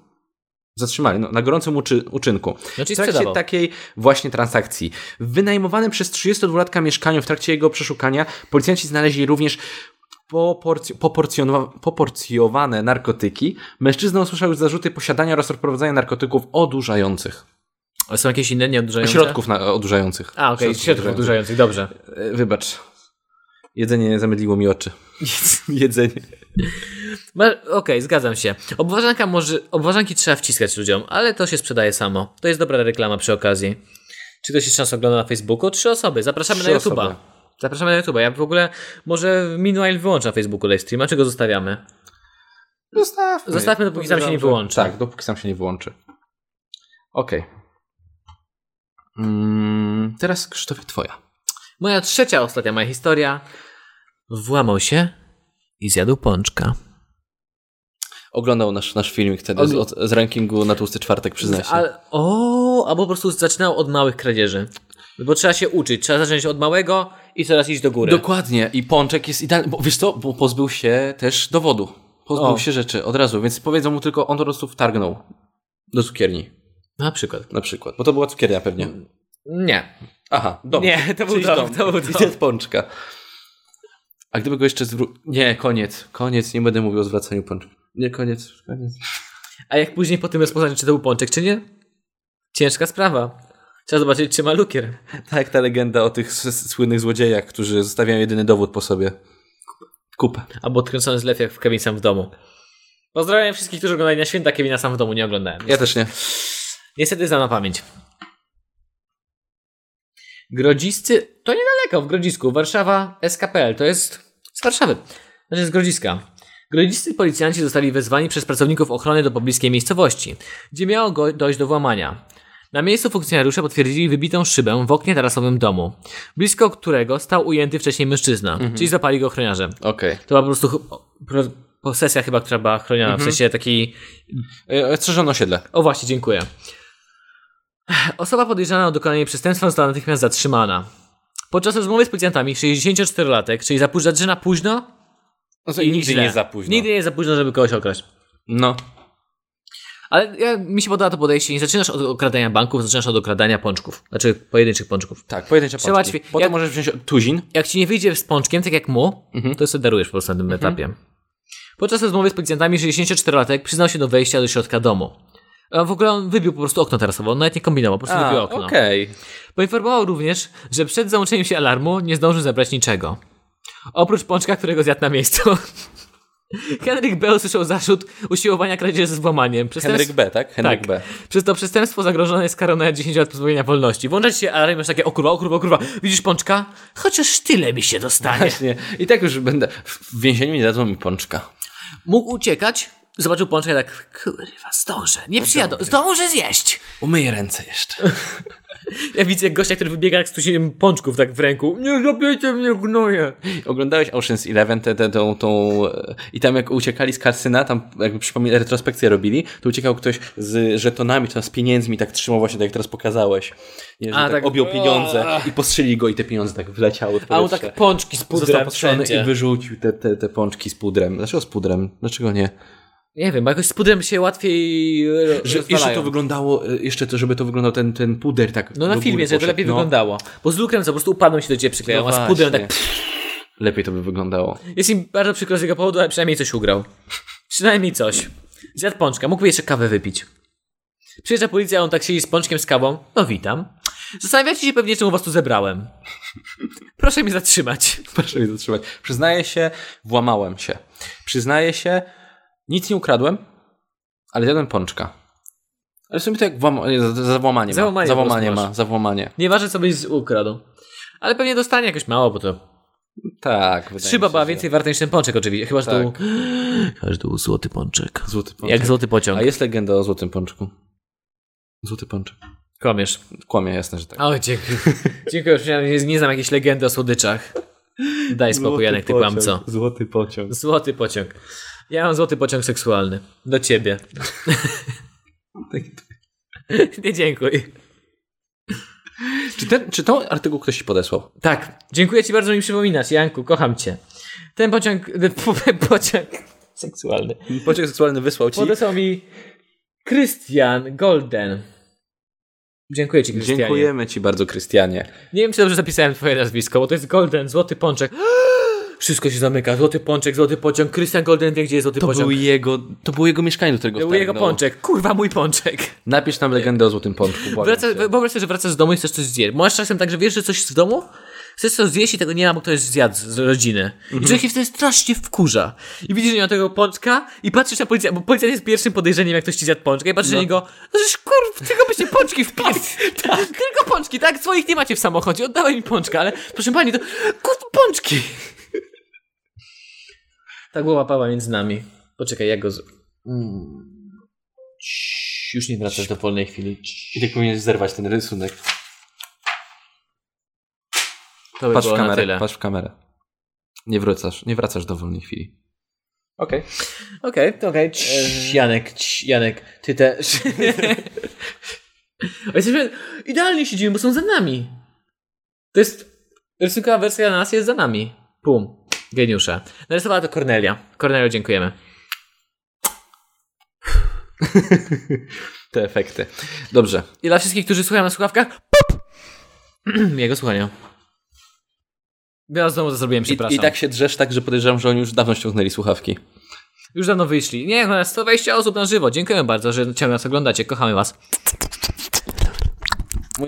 Speaker 1: Zatrzymali, no, na gorącym uczy, uczynku.
Speaker 2: Znaczy
Speaker 1: w trakcie
Speaker 2: sprzedawał.
Speaker 1: takiej właśnie transakcji. W wynajmowanym przez 32-latka mieszkaniu w trakcie jego przeszukania policjanci znaleźli również poporcj- poporcjonowa- poporcjowane narkotyki. Mężczyzna usłyszał już zarzuty posiadania oraz odprowadzania narkotyków odurzających.
Speaker 2: Ale są jakieś inne nieodurzające?
Speaker 1: Środków na, odurzających.
Speaker 2: A, okej, środków odurzających, dobrze.
Speaker 1: E, Wybacz. Jedzenie zamydliło mi oczy. <laughs> Jedzenie.
Speaker 2: Ma- Okej, zgadzam się. Obważanka może, obważanki trzeba wciskać ludziom, ale to się sprzedaje samo. To jest dobra reklama przy okazji. Czy ktoś jeszcze nas ogląda na Facebooku? Trzy osoby. Zapraszamy
Speaker 1: Trzy
Speaker 2: na YouTube'a.
Speaker 1: osoby.
Speaker 2: Zapraszamy na YouTube'a. Ja w ogóle może meanwhile wyłączę na Facebooku live streama, czy go zostawiamy?
Speaker 1: Zostawmy.
Speaker 2: Zostawmy, dopóki sam się nie wyłączy.
Speaker 1: Tak, dopóki sam się nie wyłączy. Okej. Mm, teraz Krzysztofie twoja.
Speaker 2: Moja trzecia, ostatnia moja historia. Włamał się i zjadł pączka.
Speaker 1: Oglądał nasz, nasz filmik wtedy z, od, z rankingu na tłusty czwartek, przyznaję się.
Speaker 2: Ale, o, albo po prostu zaczynał od małych kradzieży. Bo trzeba się uczyć, trzeba zacząć od małego i coraz iść do góry.
Speaker 1: Dokładnie. I Pączek jest idealny. Bo wiesz co? Bo pozbył się też dowodu. Pozbył
Speaker 2: O.
Speaker 1: się rzeczy od razu, więc powiedzą mu tylko, on po prostu wtargnął do cukierni
Speaker 2: Na przykład.
Speaker 1: na przykład. No, Bo to była cukiernia pewnie.
Speaker 2: Nie.
Speaker 1: Aha, dom.
Speaker 2: Nie, to był
Speaker 1: Czyli
Speaker 2: dom, to
Speaker 1: <laughs>
Speaker 2: był
Speaker 1: I
Speaker 2: dom.
Speaker 1: ten Pączka. A gdyby go jeszcze zwró... Nie, koniec. Koniec. Nie będę mówił o zwracaniu Pączka. Nie, koniec. Koniec.
Speaker 2: A jak później po tym rozpoznaniu, czy to był pączek, czy nie? Ciężka sprawa. Trzeba zobaczyć, czy ma lukier.
Speaker 1: Tak, ta legenda o tych s- s- słynnych złodziejach, którzy zostawiają jedyny dowód po sobie. Kupę.
Speaker 2: Albo odkręcony zlew jak w Kevin sam w domu. Pozdrawiam wszystkich, którzy oglądali na święta Kevina sam w domu, nie oglądałem.
Speaker 1: Ja też nie.
Speaker 2: Niestety znam na pamięć. Grodziscy, to niedaleko, w Grodzisku, Warszawa, SKPL, to jest z Warszawy, znaczy z Grodziska. Grodziscy policjanci zostali wezwani przez pracowników ochrony do pobliskiej miejscowości, gdzie miało go dojść do włamania. Na miejscu funkcjonariusze potwierdzili wybitą szybę w oknie tarasowym domu, blisko którego stał ujęty wcześniej mężczyzna, czyli zapali go ochroniarze.
Speaker 1: Okej.
Speaker 2: To była po prostu ch- pro- posesja chyba, która była chroniona, w sensie takiej E,
Speaker 1: Okay. Strzeżono osiedle.
Speaker 2: o właśnie, dziękuję. Osoba podejrzana o dokonanie przestępstwa została natychmiast zatrzymana. Podczas rozmowy z policjantami 64-latek, czyli zapóźnia zaczyna późno
Speaker 1: No
Speaker 2: i źle. Nigdy nie jest za późno, żeby kogoś okraść.
Speaker 1: No.
Speaker 2: Ale ja, mi się podoba to podejście. Nie zaczynasz od okradania banków, zaczynasz od okradania pączków. Znaczy pojedynczych pączków.
Speaker 1: Tak, pojedyncze
Speaker 2: Trzeba
Speaker 1: pączki.
Speaker 2: ćwi-
Speaker 1: Potem
Speaker 2: jak-
Speaker 1: możesz wziąć tuzin.
Speaker 2: Jak ci nie wyjdzie z pączkiem, tak jak mu, to sobie darujesz po prostu na tym etapie. Podczas rozmowy z policjantami 64-latek przyznał się do wejścia do środka domu. A w ogóle on wybił po prostu okno tarasowe. On nawet nie kombinował, po prostu wybił okno.
Speaker 1: okej.
Speaker 2: Poinformował również, że przed załączeniem się alarmu nie zdążył zabrać niczego. Oprócz pączka, którego zjadł na miejscu. <laughs> Henryk B. usłyszał zarzut usiłowania kradzieży z włamaniem. Przez
Speaker 1: Henryk B, tak? Henryk
Speaker 2: tak.
Speaker 1: B.
Speaker 2: Przez to przestępstwo zagrożone jest karą na 10 lat pozbawienia wolności. Włącza ci się alarm, masz takie, o kurwa, o kurwa, o kurwa. Widzisz pączka? Chociaż tyle mi się <laughs> dostanie.
Speaker 1: Właśnie. I tak już będę. W w więzieniu nie dadzą mi pączka.
Speaker 2: Mógł uciekać, zobaczył pączka i tak, kurwa, zdążę. Nie przyjadę, zdążę zjeść.
Speaker 1: Umyję ręce jeszcze.
Speaker 2: Ja widzę gościa, który wybiega jak z tuzinem pączków tak w ręku. Nie zabijcie mnie, gnoje.
Speaker 1: Oglądałeś Ocean's Eleven, tę, tę, tą, tą, e, i tam jak uciekali z kasyna, tam jakby przypominam, retrospekcję robili, to uciekał ktoś z żetonami, tam z pieniędzmi, tak trzymał właśnie, tak jak teraz pokazałeś. Nie, że
Speaker 2: A,
Speaker 1: tak,
Speaker 2: tak.
Speaker 1: objął pieniądze i postrzeli go i te pieniądze tak wleciały w
Speaker 2: A on
Speaker 1: powietrze.
Speaker 2: tak pączki z
Speaker 1: Został
Speaker 2: pudrem
Speaker 1: postrzelony
Speaker 2: wszędzie.
Speaker 1: i wyrzucił te, te, te pączki z pudrem. Dlaczego z pudrem? Dlaczego nie?
Speaker 2: Nie wiem, bo jakoś z pudrem się łatwiej e,
Speaker 1: Że, jeszcze
Speaker 2: rozwalają.
Speaker 1: to wyglądało, e, jeszcze to, żeby to wyglądał ten, ten puder tak
Speaker 2: No na
Speaker 1: do
Speaker 2: filmie,
Speaker 1: góry
Speaker 2: że to
Speaker 1: poszedł.
Speaker 2: lepiej
Speaker 1: No,
Speaker 2: wyglądało. Bo z lukrem co, po prostu upadłem się do ciebie przyklejają,
Speaker 1: no
Speaker 2: a z pudrem tak...
Speaker 1: właśnie. Lepiej to by wyglądało.
Speaker 2: Jest im bardzo przykro z jego powodu, ale przynajmniej coś ugrał. Przynajmniej coś. Zjadł pączka, mógłby jeszcze kawę wypić. Przyjeżdża policja, on tak siedzi z pączkiem z kawą. No witam. Zastanawiacie się pewnie, czemu was tu zebrałem. Proszę mnie zatrzymać.
Speaker 1: Proszę mnie zatrzymać. Przyznaję się, włamałem się. Przyznaję się, nic nie ukradłem, ale zjadłem pączka. Ale w sumie to jak włama, nie, za, za włamanie ma.
Speaker 2: Załamanie
Speaker 1: Za włamanie
Speaker 2: po prostu
Speaker 1: ma, za włamanie.
Speaker 2: Nieważne, co byś z- ukradł. Ale pewnie dostanie jakoś mało, bo to
Speaker 1: Tak, wydaje
Speaker 2: Trzy
Speaker 1: mi się,
Speaker 2: baba
Speaker 1: że-
Speaker 2: więcej warte niż ten pączek oczywiście, chyba że to
Speaker 1: Tak.
Speaker 2: był... Chyba, że to był złoty pączek.
Speaker 1: Złoty pączek.
Speaker 2: Jak złoty pociąg.
Speaker 1: A jest legenda o złotym pączku. Złoty pączek.
Speaker 2: Kłamiesz.
Speaker 1: Kłamie, jasne, że tak.
Speaker 2: O, dziękuję. dziękuję, już nie, nie znam jakiejś legendy o słodyczach. Daj spokój, Janek, ty kłamco.
Speaker 1: Złoty pociąg.
Speaker 2: Złoty pociąg. Ja mam złoty pociąg seksualny. Do ciebie. <laughs> nie dziękuj.
Speaker 1: Czy, ten, czy tą artykuł ktoś ci podesłał?
Speaker 2: Tak, dziękuję ci bardzo, że mi przypominasz, Janku, kocham cię. Ten pociąg, <laughs> pociąg seksualny.
Speaker 1: Pociąg seksualny wysłał ci.
Speaker 2: Podesłał mi Christian Golden. Dziękuję ci, Krystianie.
Speaker 1: Dziękujemy ci bardzo, Krystianie.
Speaker 2: Nie wiem, czy dobrze zapisałem twoje nazwisko, bo to jest Golden, Złoty Pączek. <gasps> Wszystko się zamyka. Złoty Pączek, Złoty Pączek. Krystian Golden wie, gdzie jest Złoty
Speaker 1: To
Speaker 2: Pączek.
Speaker 1: był no. jego, to było jego mieszkanie, do którego
Speaker 2: To był jego
Speaker 1: wtargnął.
Speaker 2: pączek. Kurwa, mój pączek.
Speaker 1: Napisz nam legendę o złotym pączku. błagam
Speaker 2: Wraca,
Speaker 1: cię.
Speaker 2: wyobraź sobie, że wracasz z domu i chcesz coś zjeść. Masz czasem tak, że wiesz, że coś jest w domu, chcesz coś zjeść i tego nie ma, bo ktoś zjadł z- z rodziny. I człowiek się wtedy strasznie wkurza. I widzisz, że nie ma tego pączka i patrzysz na policjanta, bo policjant jest pierwszym podejrzeniem, jak ktoś ci zjadł pączka i patrzysz na niego, no żeś kurw, tylko byście pączki w <laughs> tak, Tylko pączki, tak? Swoich nie macie w samochodzie, oddałem mi pączka, ale proszę pani, to kurw, <laughs> pączki. Ta głowa pała Tak, między nami. Poczekaj, ja go... Z... Ciii, Już nie wracasz do wolnej chwili.
Speaker 1: I tak powinieneś zerwać ten rysunek.
Speaker 2: To by
Speaker 1: Patrz w
Speaker 2: było na
Speaker 1: kamerę,
Speaker 2: tyle.
Speaker 1: patrz w kamerę. Nie wracasz, nie wracasz do wolnej chwili. Okej.
Speaker 2: Okej, okay, okej. Okay. Janek, cii, Janek, ty <laughs> też. A jesteśmy idealnie siedzimy, bo są za nami. To jest rysunkowa wersja nas jest za nami. Pum. Geniusza. Narysowała to Kornelia. Kornelio, dziękujemy.
Speaker 1: Te efekty. Dobrze.
Speaker 2: I dla wszystkich, którzy słuchają na słuchawkach, pop! <clears throat> Jego słuchania. Ja znowu to zrobiłem,
Speaker 1: I,
Speaker 2: przepraszam.
Speaker 1: I tak się drzesz, tak, że podejrzewam, że oni już dawno ściągnęli słuchawki.
Speaker 2: Już dawno wyszli. Nie, no, 120 osób na żywo. Dziękujemy bardzo, że ciągle nas oglądacie. Kochamy was.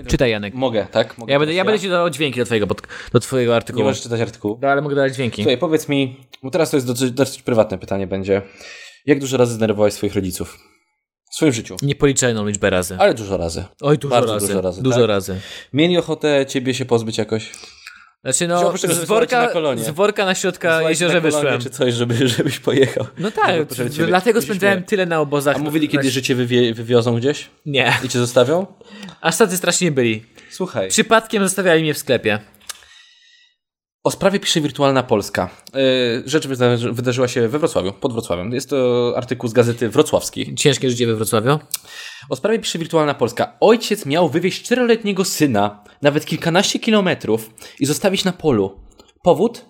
Speaker 2: Czytaj, Janek.
Speaker 1: Mogę, tak? Mogę
Speaker 2: Ja będę,
Speaker 1: teraz
Speaker 2: ja będę ci dawał dźwięki do twojego, pod, do twojego
Speaker 1: Nie
Speaker 2: artykułu.
Speaker 1: możesz czytać artykułu.
Speaker 2: No, ale mogę dawać dźwięki.
Speaker 1: Słuchaj, powiedz mi, bo teraz to jest dosyć, dosyć prywatne pytanie będzie. Jak dużo razy zdenerwowałeś swoich rodziców? W swoim życiu.
Speaker 2: Niepoliczalną liczbę razy.
Speaker 1: Ale dużo razy.
Speaker 2: Oj, dużo
Speaker 1: bardzo
Speaker 2: razy.
Speaker 1: dużo razy,
Speaker 2: Dużo
Speaker 1: tak?
Speaker 2: razy.
Speaker 1: Mieli ochotę ciebie się pozbyć jakoś?
Speaker 2: Znaczy
Speaker 1: Że
Speaker 2: no,
Speaker 1: oprócz tego, że
Speaker 2: z
Speaker 1: wysłali cię
Speaker 2: worka,
Speaker 1: na kolonie.
Speaker 2: z worka na środka
Speaker 1: Złaś na
Speaker 2: jeziorze
Speaker 1: kolanie
Speaker 2: wyszłem.
Speaker 1: Czy coś, żeby, żebyś pojechał.
Speaker 2: No tak,
Speaker 1: Żeby- żeby
Speaker 2: d-
Speaker 1: ciebie-
Speaker 2: dlatego
Speaker 1: żeby się
Speaker 2: spędzałem
Speaker 1: śmiali.
Speaker 2: tyle na obozach.
Speaker 1: A mówili
Speaker 2: Na-
Speaker 1: kiedy, że cię wywie, wywiozą gdzieś?
Speaker 2: Nie,
Speaker 1: I cię zostawią?
Speaker 2: aż tacy strasznie byli.
Speaker 1: Słuchaj.
Speaker 2: Przypadkiem zostawiali mnie w sklepie.
Speaker 1: O sprawie pisze Wirtualna Polska. Yy, Rzecz wydarzy- wydarzyła się we Wrocławiu, pod Wrocławiem. Jest to artykuł z gazety wrocławskiej.
Speaker 2: Ciężkie życie we Wrocławiu.
Speaker 1: O sprawie pisze Wirtualna Polska. Ojciec miał wywieźć czteroletniego syna, nawet kilkanaście kilometrów i zostawić na polu. Powód?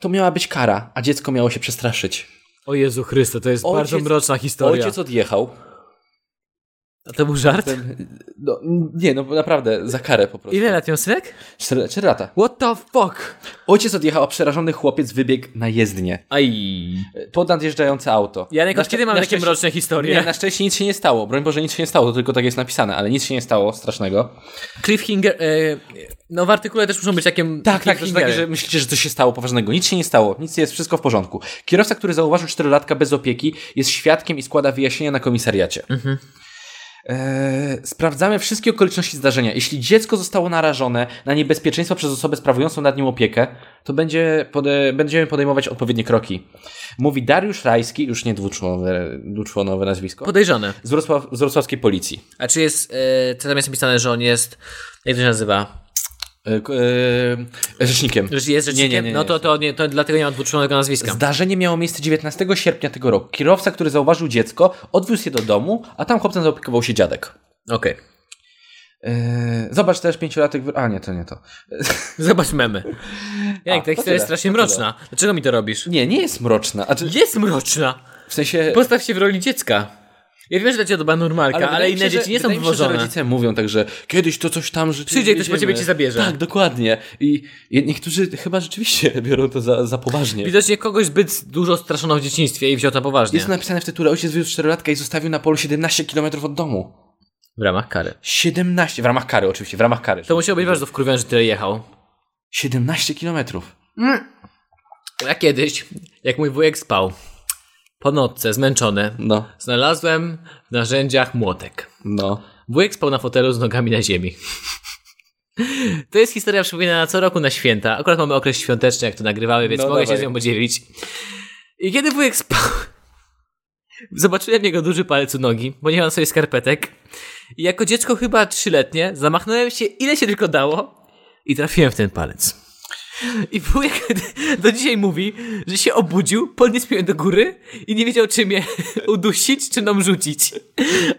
Speaker 1: To miała być kara, a dziecko miało się przestraszyć.
Speaker 2: O Jezu Chryste, to jest
Speaker 1: Ojciec-
Speaker 2: bardzo mroczna historia.
Speaker 1: Ojciec odjechał.
Speaker 2: A to był żart?
Speaker 1: No, nie, no naprawdę, za karę po prostu.
Speaker 2: Ile lat miał synek?
Speaker 1: 4, 4 lata.
Speaker 2: What the fuck?
Speaker 1: Ojciec odjechał, a przerażony chłopiec wybiegł na jezdnię.
Speaker 2: Aj.
Speaker 1: Pod nadjeżdżające auto.
Speaker 2: Janek,
Speaker 1: Na
Speaker 2: od
Speaker 1: szczę-
Speaker 2: kiedy mam
Speaker 1: na
Speaker 2: takie
Speaker 1: szczęście-
Speaker 2: mroczne historie?
Speaker 1: Nie, na szczęście nic się nie stało. Broń Boże, nic się nie stało, to tylko tak jest napisane, ale nic się nie stało strasznego.
Speaker 2: Cliffhanger. E, no w artykule też muszą być takie.
Speaker 1: Tak, tak, że takie, że myślicie, że coś się stało poważnego. Nic się nie stało, nic jest, wszystko w porządku. Kierowca, który zauważył czterolatka bez opieki, jest świadkiem i składa wyjaśnienia na komisariacie. Eee, sprawdzamy wszystkie okoliczności zdarzenia. Jeśli dziecko zostało narażone na niebezpieczeństwo przez osobę sprawującą nad nim opiekę, to będzie pode, będziemy podejmować odpowiednie kroki. Mówi Dariusz Rajski, już nie dwuczłonowe, dwuczłonowe nazwisko,
Speaker 2: Podejrzane.
Speaker 1: z, Wrocław, z wrocławskiej policji.
Speaker 2: A czy jest. E, co tam jest napisane, że on jest. Jak to się nazywa?
Speaker 1: Eee, k- eee, rzecznikiem.
Speaker 2: Że jest rzecznikiem?
Speaker 1: Nie, nie, nie, nie.
Speaker 2: No to, to, nie, to dlatego nie mam dwuczłonego nazwiska.
Speaker 1: Zdarzenie miało miejsce 19 sierpnia tego roku. Kierowca, który zauważył dziecko, odwiózł je do domu, a tam chłopcem zaopiekował się dziadek.
Speaker 2: Okej.
Speaker 1: Eee, zobacz też pięciolatek. wy- A nie, to nie to.
Speaker 2: Zobacz memy.
Speaker 1: A,
Speaker 2: Janek, ta
Speaker 1: to
Speaker 2: historia jest
Speaker 1: tyle,
Speaker 2: strasznie
Speaker 1: to tyle.
Speaker 2: mroczna. Dlaczego mi to robisz?
Speaker 1: Nie, nie jest mroczna. A czy,
Speaker 2: Jest mroczna!
Speaker 1: w sensie.
Speaker 2: Postaw się w roli dziecka. Ja wiem, że dla ciebie to była normalka, ale,
Speaker 1: wydaje mi
Speaker 2: inne
Speaker 1: się,
Speaker 2: dzieci
Speaker 1: że-
Speaker 2: nie są
Speaker 1: wydaje mi się, że
Speaker 2: wywożone.
Speaker 1: rodzice mówią tak, że kiedyś to coś tam że
Speaker 2: Przyjdzie ktoś po
Speaker 1: jedziemy.
Speaker 2: ciebie cię zabierze.
Speaker 1: Tak, dokładnie. I i niektórzy chyba rzeczywiście <laughs> biorą to za, za poważnie.
Speaker 2: Widocznie kogoś zbyt dużo straszono w dzieciństwie i wziął to poważnie.
Speaker 1: Jest to napisane w tytule Ojciec wywiózł 4 latka i zostawił na polu 17 km od domu.
Speaker 2: W ramach kary.
Speaker 1: 17 w ramach kary, oczywiście, w ramach kary.
Speaker 2: To musiał być bardzo wkurwiony, że tyle jechał.
Speaker 1: 17 kilometrów.
Speaker 2: Ja kiedyś, jak mój wujek spał, po nocce, zmęczony,
Speaker 1: No,
Speaker 2: znalazłem w narzędziach młotek.
Speaker 1: no.
Speaker 2: Wujek spał na fotelu z nogami na ziemi. To jest historia przypominana co roku na święta. Akurat mamy okres świąteczny, jak to nagrywamy, więc
Speaker 1: No
Speaker 2: mogę się
Speaker 1: dawaj.
Speaker 2: z nią podzielić. I kiedy wujek spał, zobaczyłem jego duży palec u nogi, bo nie mam sobie skarpetek. I jako dziecko chyba trzyletnie zamachnąłem się ile się tylko dało i trafiłem w ten palec. I wujek <laughs> do dzisiaj mówi, że się obudził, podniósł mnie do góry i nie wiedział, czy mnie <laughs> udusić, czy nam rzucić.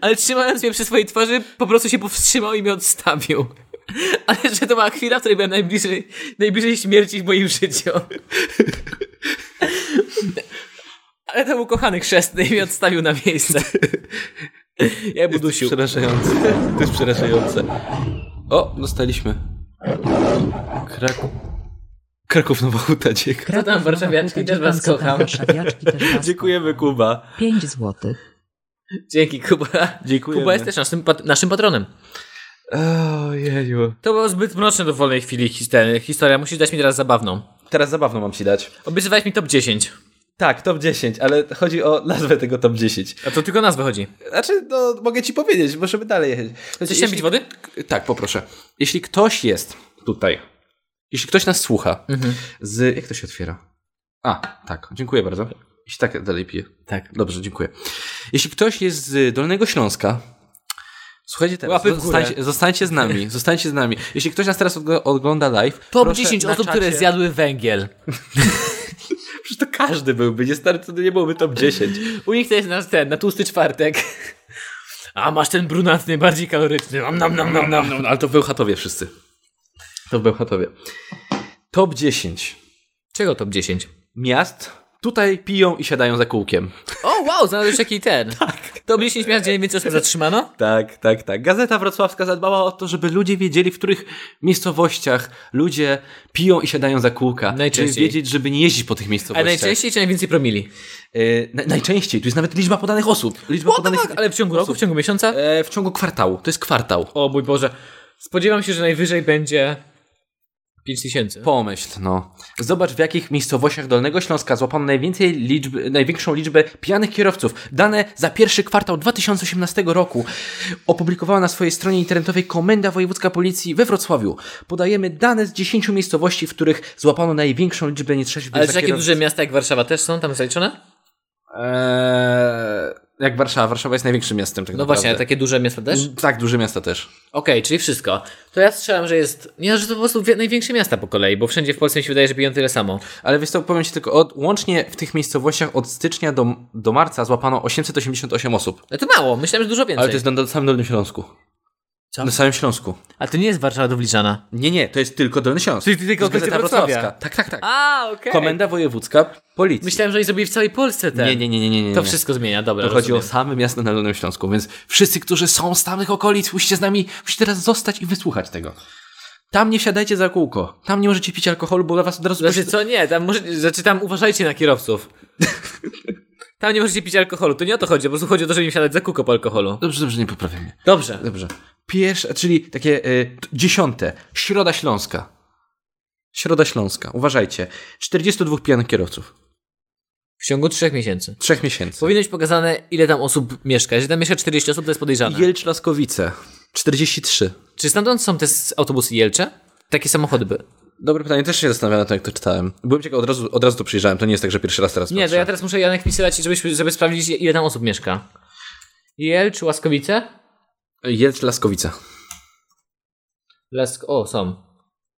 Speaker 2: Ale trzymając mnie przy swojej twarzy, po prostu się powstrzymał i mnie odstawił. <laughs> Ale że to była chwila, w której byłem najbliżej, najbliżej śmierci w moim życiu. <laughs> Ale to był kochany chrzestny i mnie odstawił na miejsce. Ja bym udusił.
Speaker 1: Przerażające. <laughs> To jest przerażające. O, dostaliśmy. Kraków. Kraków Nowa Huta, dziękuję.
Speaker 2: Co tam, warszawiaczki? Też was kocham.
Speaker 3: Warszawiaczki też
Speaker 2: <laughs>
Speaker 3: was
Speaker 1: Dziękujemy, Kuba.
Speaker 3: 5 złotych.
Speaker 2: Dzięki, Kuba.
Speaker 1: Dziękujemy.
Speaker 2: Kuba jest też naszym, pat- naszym patronem.
Speaker 1: Ojeju.
Speaker 2: To było zbyt mroczne do wolnej chwili his- ten- historia. Musisz dać mi teraz zabawną.
Speaker 1: Teraz zabawno mam ci dać.
Speaker 2: Obiecywałeś mi top 10.
Speaker 1: Tak, top 10, ale chodzi o nazwę tego top 10.
Speaker 2: A to tylko nazwę chodzi.
Speaker 1: Znaczy, no, mogę ci powiedzieć, możemy dalej jechać. Chcesz
Speaker 2: Chcesz jeśli... pić wody?
Speaker 1: Tak, poproszę. Jeśli ktoś jest tutaj, jeśli ktoś nas słucha,
Speaker 2: Mhm.
Speaker 1: z... Jak to się otwiera? A, tak, dziękuję bardzo. Jeśli tak, dalej piję. Tak. Dobrze, dziękuję. Jeśli ktoś jest z Dolnego Śląska, słuchajcie teraz,
Speaker 2: Łapy w górę.
Speaker 1: zostańcie, zostańcie z
Speaker 2: <laughs>
Speaker 1: nami, zostańcie z nami. Jeśli ktoś nas teraz ogl- ogląda live,
Speaker 2: Top
Speaker 1: proszę
Speaker 2: 10
Speaker 1: na
Speaker 2: osób,
Speaker 1: czacie-
Speaker 2: które zjadły węgiel.
Speaker 1: Przecież to każdy byłby, nie, stary, to nie byłoby top
Speaker 2: <laughs>
Speaker 1: 10.
Speaker 2: U nich to jest nasz ten, na tłusty czwartek. A masz ten brunatny, bardziej kaloryczny. Nam, nam, nam, nam, nam.
Speaker 1: Ale to w Bełchatowie wszyscy. To w Bełchatowie. Top 10
Speaker 2: Czego top 10?
Speaker 1: miast. Tutaj piją i siadają za kółkiem.
Speaker 2: O, wow, znalazłeś taki ten. tak. Top 10 miast, gdzie najwięcej osób <laughs> zatrzymano?
Speaker 1: Tak, tak, tak. Gazeta Wrocławska zadbała o to, żeby ludzie wiedzieli, w których miejscowościach ludzie piją i siadają za kółka.
Speaker 2: Najczęściej.
Speaker 1: Żeby wiedzieć, żeby nie jeździć po tych
Speaker 2: A
Speaker 1: miejscowościach.
Speaker 2: najczęściej czy najwięcej promili?
Speaker 1: E, na, najczęściej. Tu jest nawet liczba podanych osób. Liczba
Speaker 2: O
Speaker 1: podanych...
Speaker 2: tak, ale w ciągu roku, w ciągu miesiąca?
Speaker 1: E, w ciągu kwartału. To jest kwartał.
Speaker 2: O mój Boże. Spodziewam się, że najwyżej będzie 5000.
Speaker 1: Pomyśl, no. Zobacz, w jakich miejscowościach Dolnego Śląska złapano najwięcej liczby, największą liczbę pijanych kierowców. Dane za pierwszy kwartał 2018 roku opublikowała na swojej stronie internetowej Komenda Wojewódzka Policji we Wrocławiu. Podajemy dane z 10 miejscowości, w których złapano największą liczbę nietrzeźwych
Speaker 2: Ale
Speaker 1: za
Speaker 2: czy takie
Speaker 1: kierowcą.
Speaker 2: duże miasta jak Warszawa też są tam zaliczone? No
Speaker 1: Eee, jak Warszawa. Warszawa jest największym miastem, tak
Speaker 2: No
Speaker 1: naprawdę.
Speaker 2: właśnie, ale takie duże miasta też? Okej,
Speaker 1: Tak, duże miasta też.
Speaker 2: czyli wszystko. To ja strzelam, że jest. Nie, że to po prostu wie- największe miasta po kolei, bo wszędzie w Polsce mi się wydaje, że piją tyle samo.
Speaker 1: Ale wiesz co, powiem Ci tylko, od, łącznie w tych miejscowościach od stycznia do, do marca złapano 888 osób.
Speaker 2: No to mało, myślałem, że dużo więcej.
Speaker 1: Ale to jest na, na samym Dolnym Śląsku.
Speaker 2: Co?
Speaker 1: Na samym Śląsku.
Speaker 2: A to nie jest Warszawa dowliczana.
Speaker 1: Nie, nie, to jest tylko Dolny Śląsk.
Speaker 2: Czyli tylko
Speaker 1: To jest
Speaker 2: kwestia Wrocławia.
Speaker 1: Tak, tak, tak.
Speaker 2: A, okej.
Speaker 1: Komenda Wojewódzka Policji.
Speaker 2: Myślałem, że oni zrobili w całej Polsce ten.
Speaker 1: nie, nie, nie, nie, nie, nie.
Speaker 2: To
Speaker 1: nie.
Speaker 2: wszystko zmienia, dobra.
Speaker 1: To chodzi o
Speaker 2: rozumiem.
Speaker 1: same miasto na Dolnym Śląsku, więc wszyscy, którzy są z tamtych okolic, musicie z nami, musicie teraz zostać i wysłuchać tego. Tam nie wsiadajcie za kółko. Tam nie możecie pić alkoholu, bo dla was od razu...
Speaker 2: Znaczy co nie, tam może, znaczy tam uważajcie na
Speaker 1: <laughs>
Speaker 2: kierowców. Tam nie możecie pić alkoholu, to nie o to chodzi, po prostu chodzi o to, żeby nie wsiadać za kółko po alkoholu.
Speaker 1: Dobrze, dobrze, nie poprawię mnie.
Speaker 2: Dobrze.
Speaker 1: Dobrze. Pierwsze, czyli takie y, t- dziesiąte. Środa Śląska. Środa Śląska. Uważajcie. 42 pijanych kierowców.
Speaker 2: W ciągu trzech miesięcy.
Speaker 1: Trzech miesięcy.
Speaker 2: Powinno być pokazane, ile tam osób mieszka. Jeżeli tam mieszka 40 osób, to jest podejrzane.
Speaker 1: Jelcz Laskowice. 43.
Speaker 2: Czy stamtąd są te s- autobusy Jelcze? Takie samochody by.
Speaker 1: Dobre pytanie, też się zastanawiam na to, jak to czytałem. Byłem ciekaw, od razu, od razu to przyjrzałem, to nie jest tak, że pierwszy raz teraz
Speaker 2: Nie, to
Speaker 1: patrzę.
Speaker 2: ja teraz muszę Janek pisać, żeby, żeby sprawdzić, ile tam osób mieszka. Jelcz, Łaskowice?
Speaker 1: Jelcz Laskowice.
Speaker 2: Lask... O, są.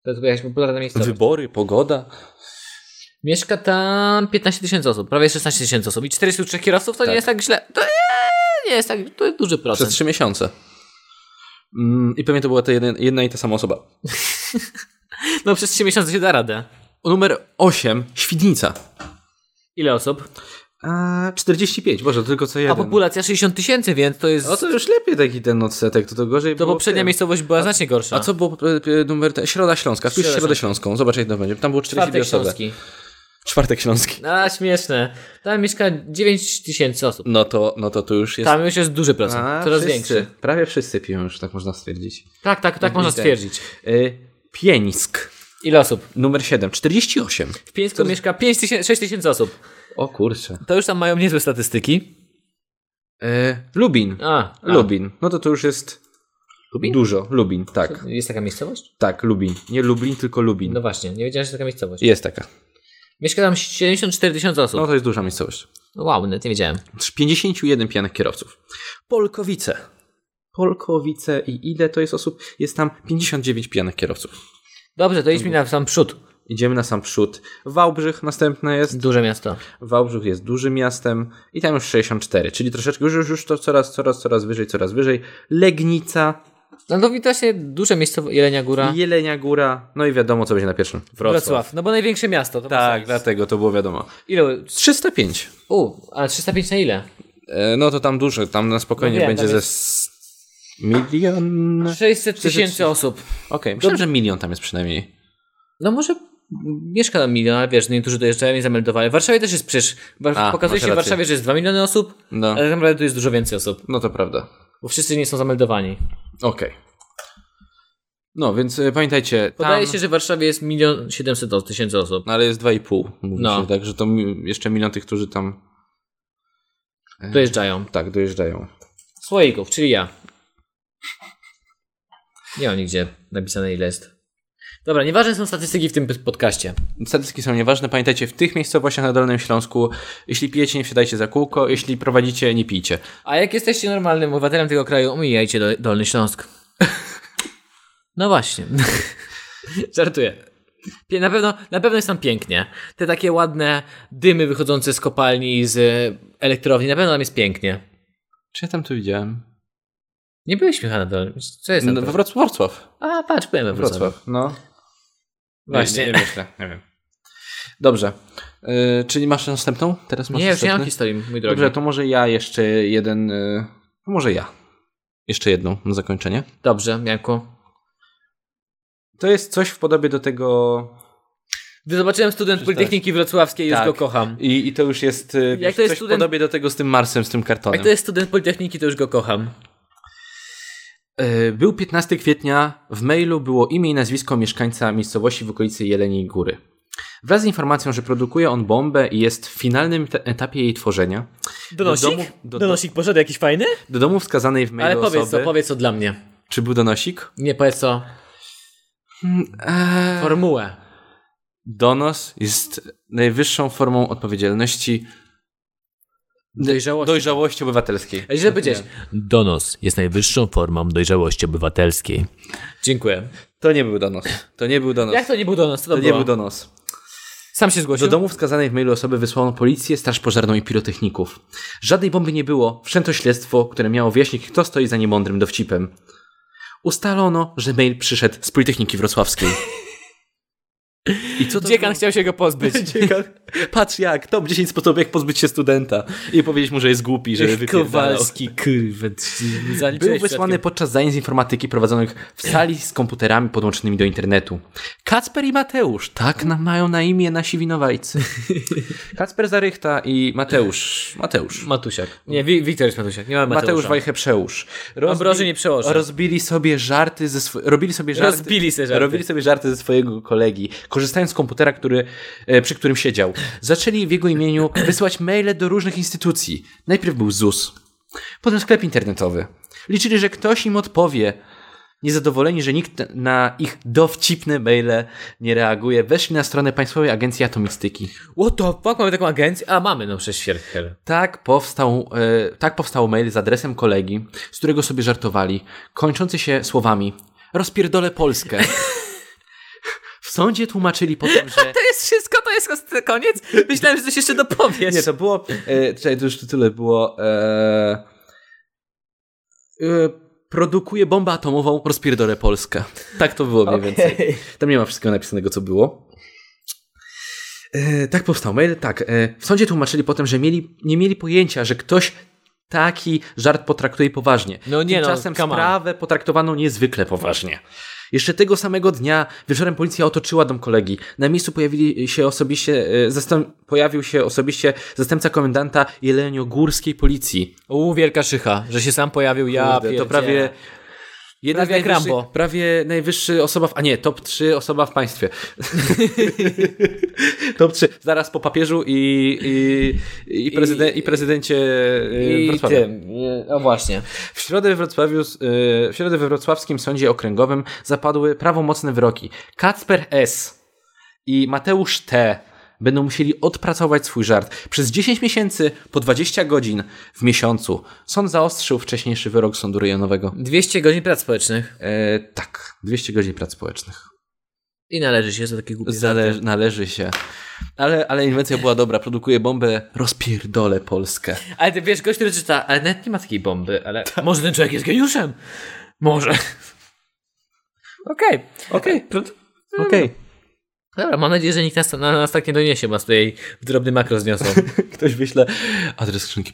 Speaker 2: To jest jakaś popularna miejscowość.
Speaker 1: Wybory, pogoda.
Speaker 2: Mieszka tam 15 tysięcy osób, prawie 16 tysięcy osób. I 43 kierowców to nie
Speaker 1: Tak.
Speaker 2: jest tak źle. To nie, nie jest tak, to jest duży
Speaker 1: Przez
Speaker 2: procent.
Speaker 1: trzy miesiące. Mm, I pewnie to była ta jeden, jedna i ta sama osoba.
Speaker 2: No przez 3 miesiące się da radę.
Speaker 1: Numer 8, Świdnica.
Speaker 2: Ile osób?
Speaker 1: A, 45, Boże, to tylko co
Speaker 2: A
Speaker 1: jeden.
Speaker 2: populacja 60 tysięcy, więc to jest...
Speaker 1: O, to już lepiej taki ten odsetek, to, to gorzej
Speaker 2: To
Speaker 1: było
Speaker 2: poprzednia
Speaker 1: tym.
Speaker 2: miejscowość była znacznie gorsza.
Speaker 1: A co było e, e, numer ten? Środa Śląska. Wpisz
Speaker 2: Środa
Speaker 1: Środę Śląską. Zobacz, jak to będzie. Tam było 42
Speaker 2: Czwartek
Speaker 1: osoby.
Speaker 2: Śląski.
Speaker 1: Czwartek Śląski.
Speaker 2: A, śmieszne. Tam mieszka 9 tysięcy osób.
Speaker 1: No to, no to tu już jest...
Speaker 2: Tam już jest duży procent,
Speaker 1: A,
Speaker 2: coraz
Speaker 1: wszyscy.
Speaker 2: większy.
Speaker 1: Prawie wszyscy piją już, tak można stwierdzić.
Speaker 2: Tak, tak, tak można
Speaker 1: tak.
Speaker 2: stwierdzić.
Speaker 1: Y, Pieńsk.
Speaker 2: Ile osób?
Speaker 1: Numer 7. 48.
Speaker 2: W Pieńsku mieszka 5 tysięcy, 6 tysięcy osób.
Speaker 1: O kurczę.
Speaker 2: To już tam mają niezłe statystyki.
Speaker 1: Y, Lubin.
Speaker 2: A, a.
Speaker 1: Lubin. No to to już jest...
Speaker 2: Lubin?
Speaker 1: Dużo. Lubin, tak.
Speaker 2: Jest taka miejscowość?
Speaker 1: Tak, Lubin. Nie Lublin, tylko Lubin.
Speaker 2: No właśnie, nie wiedziałem, że jest taka miejscowość.
Speaker 1: Jest taka.
Speaker 2: Mieszka tam 74 tysiące osób.
Speaker 1: No to jest duża miejscowość.
Speaker 2: Wow, nie, nie wiedziałem.
Speaker 1: 51 pijanych kierowców. Polkowice. Polkowice i ile to jest osób? Jest tam 59 pijanych kierowców.
Speaker 2: Dobrze, to idźmy na sam przód.
Speaker 1: Idziemy na sam przód. Wałbrzych następne jest.
Speaker 2: Duże miasto.
Speaker 1: Wałbrzych jest dużym miastem i tam już 64, czyli troszeczkę już, już, już to coraz, coraz, coraz wyżej, coraz wyżej. Legnica,
Speaker 2: No to widocznie duże miejsce Jelenia Góra.
Speaker 1: Jelenia Góra, no i wiadomo co będzie na pierwszym. Tak. Wrocław.
Speaker 2: Wrocław. No bo największe miasto. To
Speaker 1: Tak,
Speaker 2: ma sens.
Speaker 1: dlatego to było wiadomo.
Speaker 2: Ile?
Speaker 1: 305.
Speaker 2: U, ale 305 na ile?
Speaker 1: E, No to tam duże, tam na spokojnie
Speaker 2: No wiem,
Speaker 1: będzie
Speaker 2: tam
Speaker 1: ze... s- Milion...
Speaker 2: No.
Speaker 1: Okej,
Speaker 2: 600 tysięcy osób.
Speaker 1: myślałem, że milion tam jest przynajmniej.
Speaker 2: No może mieszka tam milion, ale wiesz, no niektórzy dojeżdżają i zameldowali. W Warszawie też jest przecież. Wa-
Speaker 1: A,
Speaker 2: pokazuje
Speaker 1: masz
Speaker 2: się w
Speaker 1: rację.
Speaker 2: Warszawie, że jest 2 miliony osób,
Speaker 1: No.
Speaker 2: ale tak naprawdę tu jest dużo więcej osób,
Speaker 1: No to prawda.
Speaker 2: bo wszyscy nie są zameldowani.
Speaker 1: Okej. No, więc e, pamiętajcie, tam...
Speaker 2: Podaje się, że w Warszawie jest milion 700 o- tysięcy osób.
Speaker 1: No, ale jest 2,5, mówi
Speaker 2: No.
Speaker 1: się, tak, że to mi... jeszcze milion tych, którzy tam...
Speaker 2: Dojeżdżają.
Speaker 1: Tak, dojeżdżają.
Speaker 2: Słoików, czyli ja. Nie mam nigdzie napisane ile jest. Dobra, nieważne są statystyki w tym podcaście.
Speaker 1: Statystyki są nieważne. Pamiętajcie, w tych miejscowościach na Dolnym Śląsku, jeśli pijecie, nie wsiadajcie za kółko, jeśli prowadzicie, nie pijcie.
Speaker 2: A jak jesteście normalnym obywatelem tego kraju, omijajcie Dol- Dolny Śląsk. <laughs> No właśnie. <laughs> Żartuję. Pie- Na pewno, na pewno jest tam pięknie. Te takie ładne dymy wychodzące z kopalni i z e, elektrowni, na pewno tam jest pięknie.
Speaker 1: Czy ja tam to widziałem?
Speaker 2: Nie byliśmy chyba na Dolnym. Co jest tam?
Speaker 1: No, Wrocław, Wrocław.
Speaker 2: A, patrz, byłem we Wrocławiu.
Speaker 1: Wrocław, no.
Speaker 2: Właśnie.
Speaker 1: Nie, nie myślę, nie wiem. Dobrze. Yy, czyli masz następną? Teraz masz
Speaker 2: <laughs> Nie, już nie mam
Speaker 1: następny?
Speaker 2: historii, mój drogi.
Speaker 1: Dobrze, to może ja jeszcze jeden... Yy, może ja. Jeszcze jedną na zakończenie.
Speaker 2: Dobrze, Janku.
Speaker 1: To jest coś w podobie do tego...
Speaker 2: Gdy zobaczyłem student Politechniki Wrocławskiej, już
Speaker 1: Tak.
Speaker 2: go kocham.
Speaker 1: I, i to już jest, yy,
Speaker 2: to jest
Speaker 1: coś
Speaker 2: student-
Speaker 1: w podobie do tego z tym Marsem, z tym kartonem.
Speaker 2: Jak to jest student Politechniki, to już go kocham.
Speaker 1: E, Był 15 kwietnia, w mailu było imię i nazwisko mieszkańca miejscowości w okolicy Jeleniej Góry. Wraz z informacją, że produkuje on bombę i jest w finalnym te- etapie jej tworzenia,
Speaker 2: Donosik?
Speaker 1: domu- do-
Speaker 2: Donosik poszedł jakiś fajny?
Speaker 1: do domu wskazanej w mailu
Speaker 2: Ale powiedz
Speaker 1: osoby...
Speaker 2: co, powiedz co dla mnie.
Speaker 1: Czy był donosik?
Speaker 2: Nie, powiedz co.
Speaker 1: Eee,
Speaker 2: E, Formułę.
Speaker 1: Donos jest najwyższą formą odpowiedzialności
Speaker 2: Dojrzałości.
Speaker 1: dojrzałości obywatelskiej.
Speaker 2: Ej, Źle powiedziałeś. Donos jest najwyższą formą dojrzałości obywatelskiej. Dziękuję.
Speaker 1: To nie był donos. To nie był donos.
Speaker 2: Jak to nie był donos? Co to,
Speaker 1: to nie
Speaker 2: było?
Speaker 1: był donos.
Speaker 2: Sam się
Speaker 1: Do
Speaker 2: zgłosił?
Speaker 1: domu wskazanej w mailu osoby wysłano policję, straż pożarną i pirotechników. Żadnej bomby nie było, wszczęto śledztwo, które miało wyjaśnić, kto stoi za niemądrym dowcipem. Ustalono, że mail przyszedł z Politechniki Wrocławskiej. I co to znaczy?
Speaker 2: Dziekan chciał się go
Speaker 1: <laughs>
Speaker 2: pozbyć.
Speaker 1: było? Dziekan. Patrz jak, top 10 sposobów jak pozbyć się studenta. I powiedzieć mu, że jest głupi, że wypierdalał.
Speaker 2: Kowalski, kurwa.
Speaker 1: Był wysłany podczas zajęć z informatyki prowadzonych w sali z komputerami podłączonymi do internetu. Kacper i Mateusz, tak nam mają na imię nasi winowajcy. Kacper Zarychta i Mateusz. Mateusz.
Speaker 2: Matusiak. Nie, Wi- Wiktor jest Matusiak. Nie ma Mateusza.
Speaker 1: Mateusz Wajcheprzeusz. Rozbi-
Speaker 2: Ambroży nie przełożę.
Speaker 1: Rozbili sobie żarty ze swo- robili sobie żarty.
Speaker 2: Rozbili sobie żarty.
Speaker 1: Robili sobie żarty ze swojego kolegi, korzystając z komputera, który, e, przy którym siedział. Zaczęli w jego imieniu <clears throat> wysyłać maile do różnych instytucji. Najpierw był ZUS, potem sklep internetowy. Liczyli, że ktoś im odpowie. Niezadowoleni, że nikt na ich dowcipne maile nie reaguje, weszli na stronę Państwowej Agencji Atomistyki.
Speaker 2: What the fuck? Mamy taką agencję? A, mamy, no przecież Fierkel.
Speaker 1: Tak powstał, e, tak powstał mail z adresem kolegi, z którego sobie żartowali, kończący się słowami rozpierdolę Polskę. W sądzie tłumaczyli potem,
Speaker 2: <laughs>
Speaker 1: że...
Speaker 2: To jest wszystko, to jest koniec? Myślałem, że coś jeszcze dopowiesz.
Speaker 1: Nie, to było... E, czekaj, to już tu tyle było... E, e, produkuje bombę atomową, rozpierdolę Polskę. Tak to było mniej więcej. Tam nie ma wszystkiego napisanego, co było. E, tak powstał mail, tak. E, w sądzie tłumaczyli potem, że mieli, nie mieli pojęcia, że ktoś taki żart potraktuje poważnie.
Speaker 2: No nie no,
Speaker 1: Tymczasem
Speaker 2: come on.
Speaker 1: sprawę potraktowano niezwykle poważnie. Jeszcze tego samego dnia wieczorem policja otoczyła dom kolegi. Na miejscu pojawili się osobiście, e, zastęp, pojawił się osobiście zastępca komendanta Jeleniogórskiej Policji.
Speaker 2: U, wielka szycha, że się sam pojawił, ja
Speaker 1: Kurde, to prawie Jedna
Speaker 2: Prawie jak
Speaker 1: najwyższych-
Speaker 2: Rambo.
Speaker 1: Prawie najwyższy osoba w... A nie, top 3 osoba w
Speaker 2: <laughs>
Speaker 1: państwie. top 3. Zaraz po papieżu i, i, i, prezyden, i prezydencie I
Speaker 2: I
Speaker 1: Wrocławia.
Speaker 2: Yy, tym. No właśnie.
Speaker 1: W środę, we Wrocławiu, y, w środę we wrocławskim sądzie okręgowym zapadły prawomocne wyroki. Kacper S. i Mateusz T. będą musieli odpracować swój żart. Przez 10 miesięcy po 20 godzin w miesiącu. Sąd zaostrzył wcześniejszy wyrok sądu rejonowego.
Speaker 2: 200 godzin prac społecznych.
Speaker 1: E, tak, 200 godzin prac społecznych.
Speaker 2: I należy się za takie głupie
Speaker 1: Zale- należy się. Ale, ale inwencja była dobra. Produkuje bombę, rozpierdolę Polskę.
Speaker 2: żarty. Ale ty wiesz, gość, który czyta, ale nawet nie ma takiej bomby, ale może ten człowiek jest geniuszem? Może. Okej.
Speaker 1: Okej, okej.
Speaker 2: Dobra, mam nadzieję, że nikt nas, na nas tak nie doniesie, bo nas tutaj w drobny makro <laughs> zniosą.
Speaker 1: Ktoś wyśle adres skrzynki.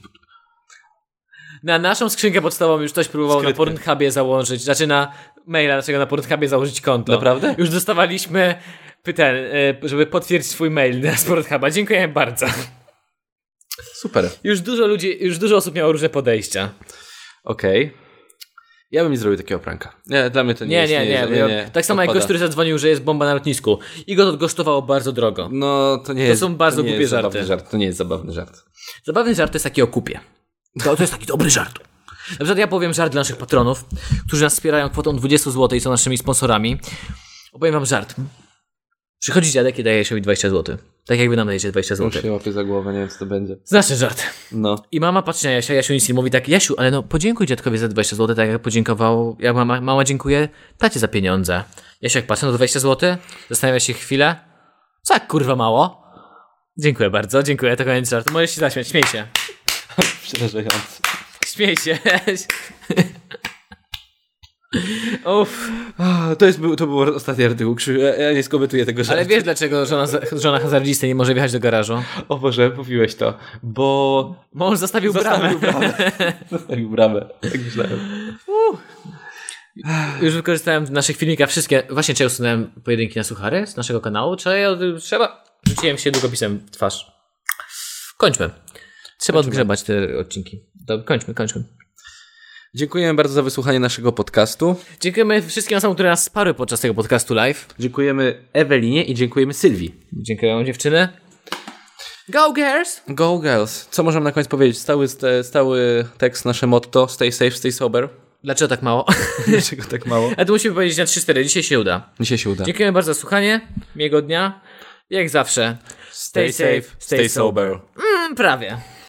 Speaker 2: Na naszą skrzynkę podstawową już ktoś próbował
Speaker 1: Skrytkę.
Speaker 2: na Pornhubie założyć, znaczy na maila naszego na Pornhubie założyć konto.
Speaker 1: Naprawdę?
Speaker 2: Już dostawaliśmy pytań, żeby potwierdzić swój mail na z Pornhuba. Dziękuję bardzo.
Speaker 1: Super.
Speaker 2: Już dużo ludzi, już dużo osób miało różne podejścia.
Speaker 1: Okej. Ja bym nie zrobił takiego pranka. Nie, dla mnie to nie,
Speaker 2: Nie,
Speaker 1: jest,
Speaker 2: nie, nie. nie, Tak samo jak
Speaker 1: odpada.
Speaker 2: gość, który zadzwonił, że jest bomba na lotnisku. I go to kosztowało bardzo drogo.
Speaker 1: No, to nie jest...
Speaker 2: są bardzo
Speaker 1: to nie
Speaker 2: głupie
Speaker 1: jest
Speaker 2: żarty.
Speaker 1: zabawny Żart. To nie jest zabawny żart.
Speaker 2: Zabawny żart to jest taki o kupie. To, to jest taki dobry żart. Na przykład ja powiem żart dla naszych patronów, którzy nas wspierają kwotą 20 zł i są naszymi sponsorami. Opowiem wam żart. Przychodzi dziadek i daje się mi 20 zł. Tak jakby nam dajecie 20
Speaker 1: Muszę
Speaker 2: zł.
Speaker 1: się łapie za głowę, nie wiem co to będzie.
Speaker 2: Znasz ten Znaczy żart.
Speaker 1: No.
Speaker 2: I mama patrzy na Jasia, Jasiu nic nie mówi, tak Jasiu, ale no podziękuj dziadkowi za 20 zł, tak jak podziękował, ja mama, mama dziękuję tacie za pieniądze. Jasiek patrzy na 20 zł, zastanawia się chwilę, co tak kurwa mało? Dziękuję bardzo, dziękuję, to koniec żartu, możesz się zaśmiać, śmiej się,
Speaker 1: Przerażający.
Speaker 2: śmiej się. Uff,
Speaker 1: Ah, To, jest, był- to był ostatni artykuł. Krzysiu, Ja, ja nie skomentuję tego żartu.
Speaker 2: ale wiesz dlaczego żona, żona hazardzisty nie może wjechać do garażu?
Speaker 1: O Boże, mówiłeś to. Bo...
Speaker 2: Mąż zostawił,
Speaker 1: Zostawił
Speaker 2: bramę.
Speaker 1: bramę. <laughs> Zostawił bramę. Tak myślałem.
Speaker 2: Już wykorzystałem w naszych filmikach wszystkie. Właśnie czy ja usunąłem pojedynki na suchary z naszego kanału, czy ja trzeba. Rzuciłem się długopisem w twarz. Kończmy. Trzeba odgrzebać te odcinki. Dobra, kończmy, kończmy.
Speaker 1: Dziękujemy bardzo za wysłuchanie naszego podcastu.
Speaker 2: Dziękujemy wszystkim osobom, które nas sparły podczas tego podcastu live.
Speaker 1: Dziękujemy Ewelinie i dziękujemy Sylwii.
Speaker 2: Dziękuję dziewczyny. Go girls!
Speaker 1: Go girls. Co możemy na koniec powiedzieć? Stały, st- stały tekst, nasze motto. Stay safe, stay <laughs> sober.
Speaker 2: Dlaczego tak mało? <laughs>
Speaker 1: Dlaczego tak mało?
Speaker 2: A to musimy powiedzieć na 3-4, dzisiaj się uda.
Speaker 1: Dzisiaj się uda.
Speaker 2: Dziękujemy bardzo za słuchanie. Miłego dnia. Jak zawsze. Stay safe, stay sober. Mm, prawie.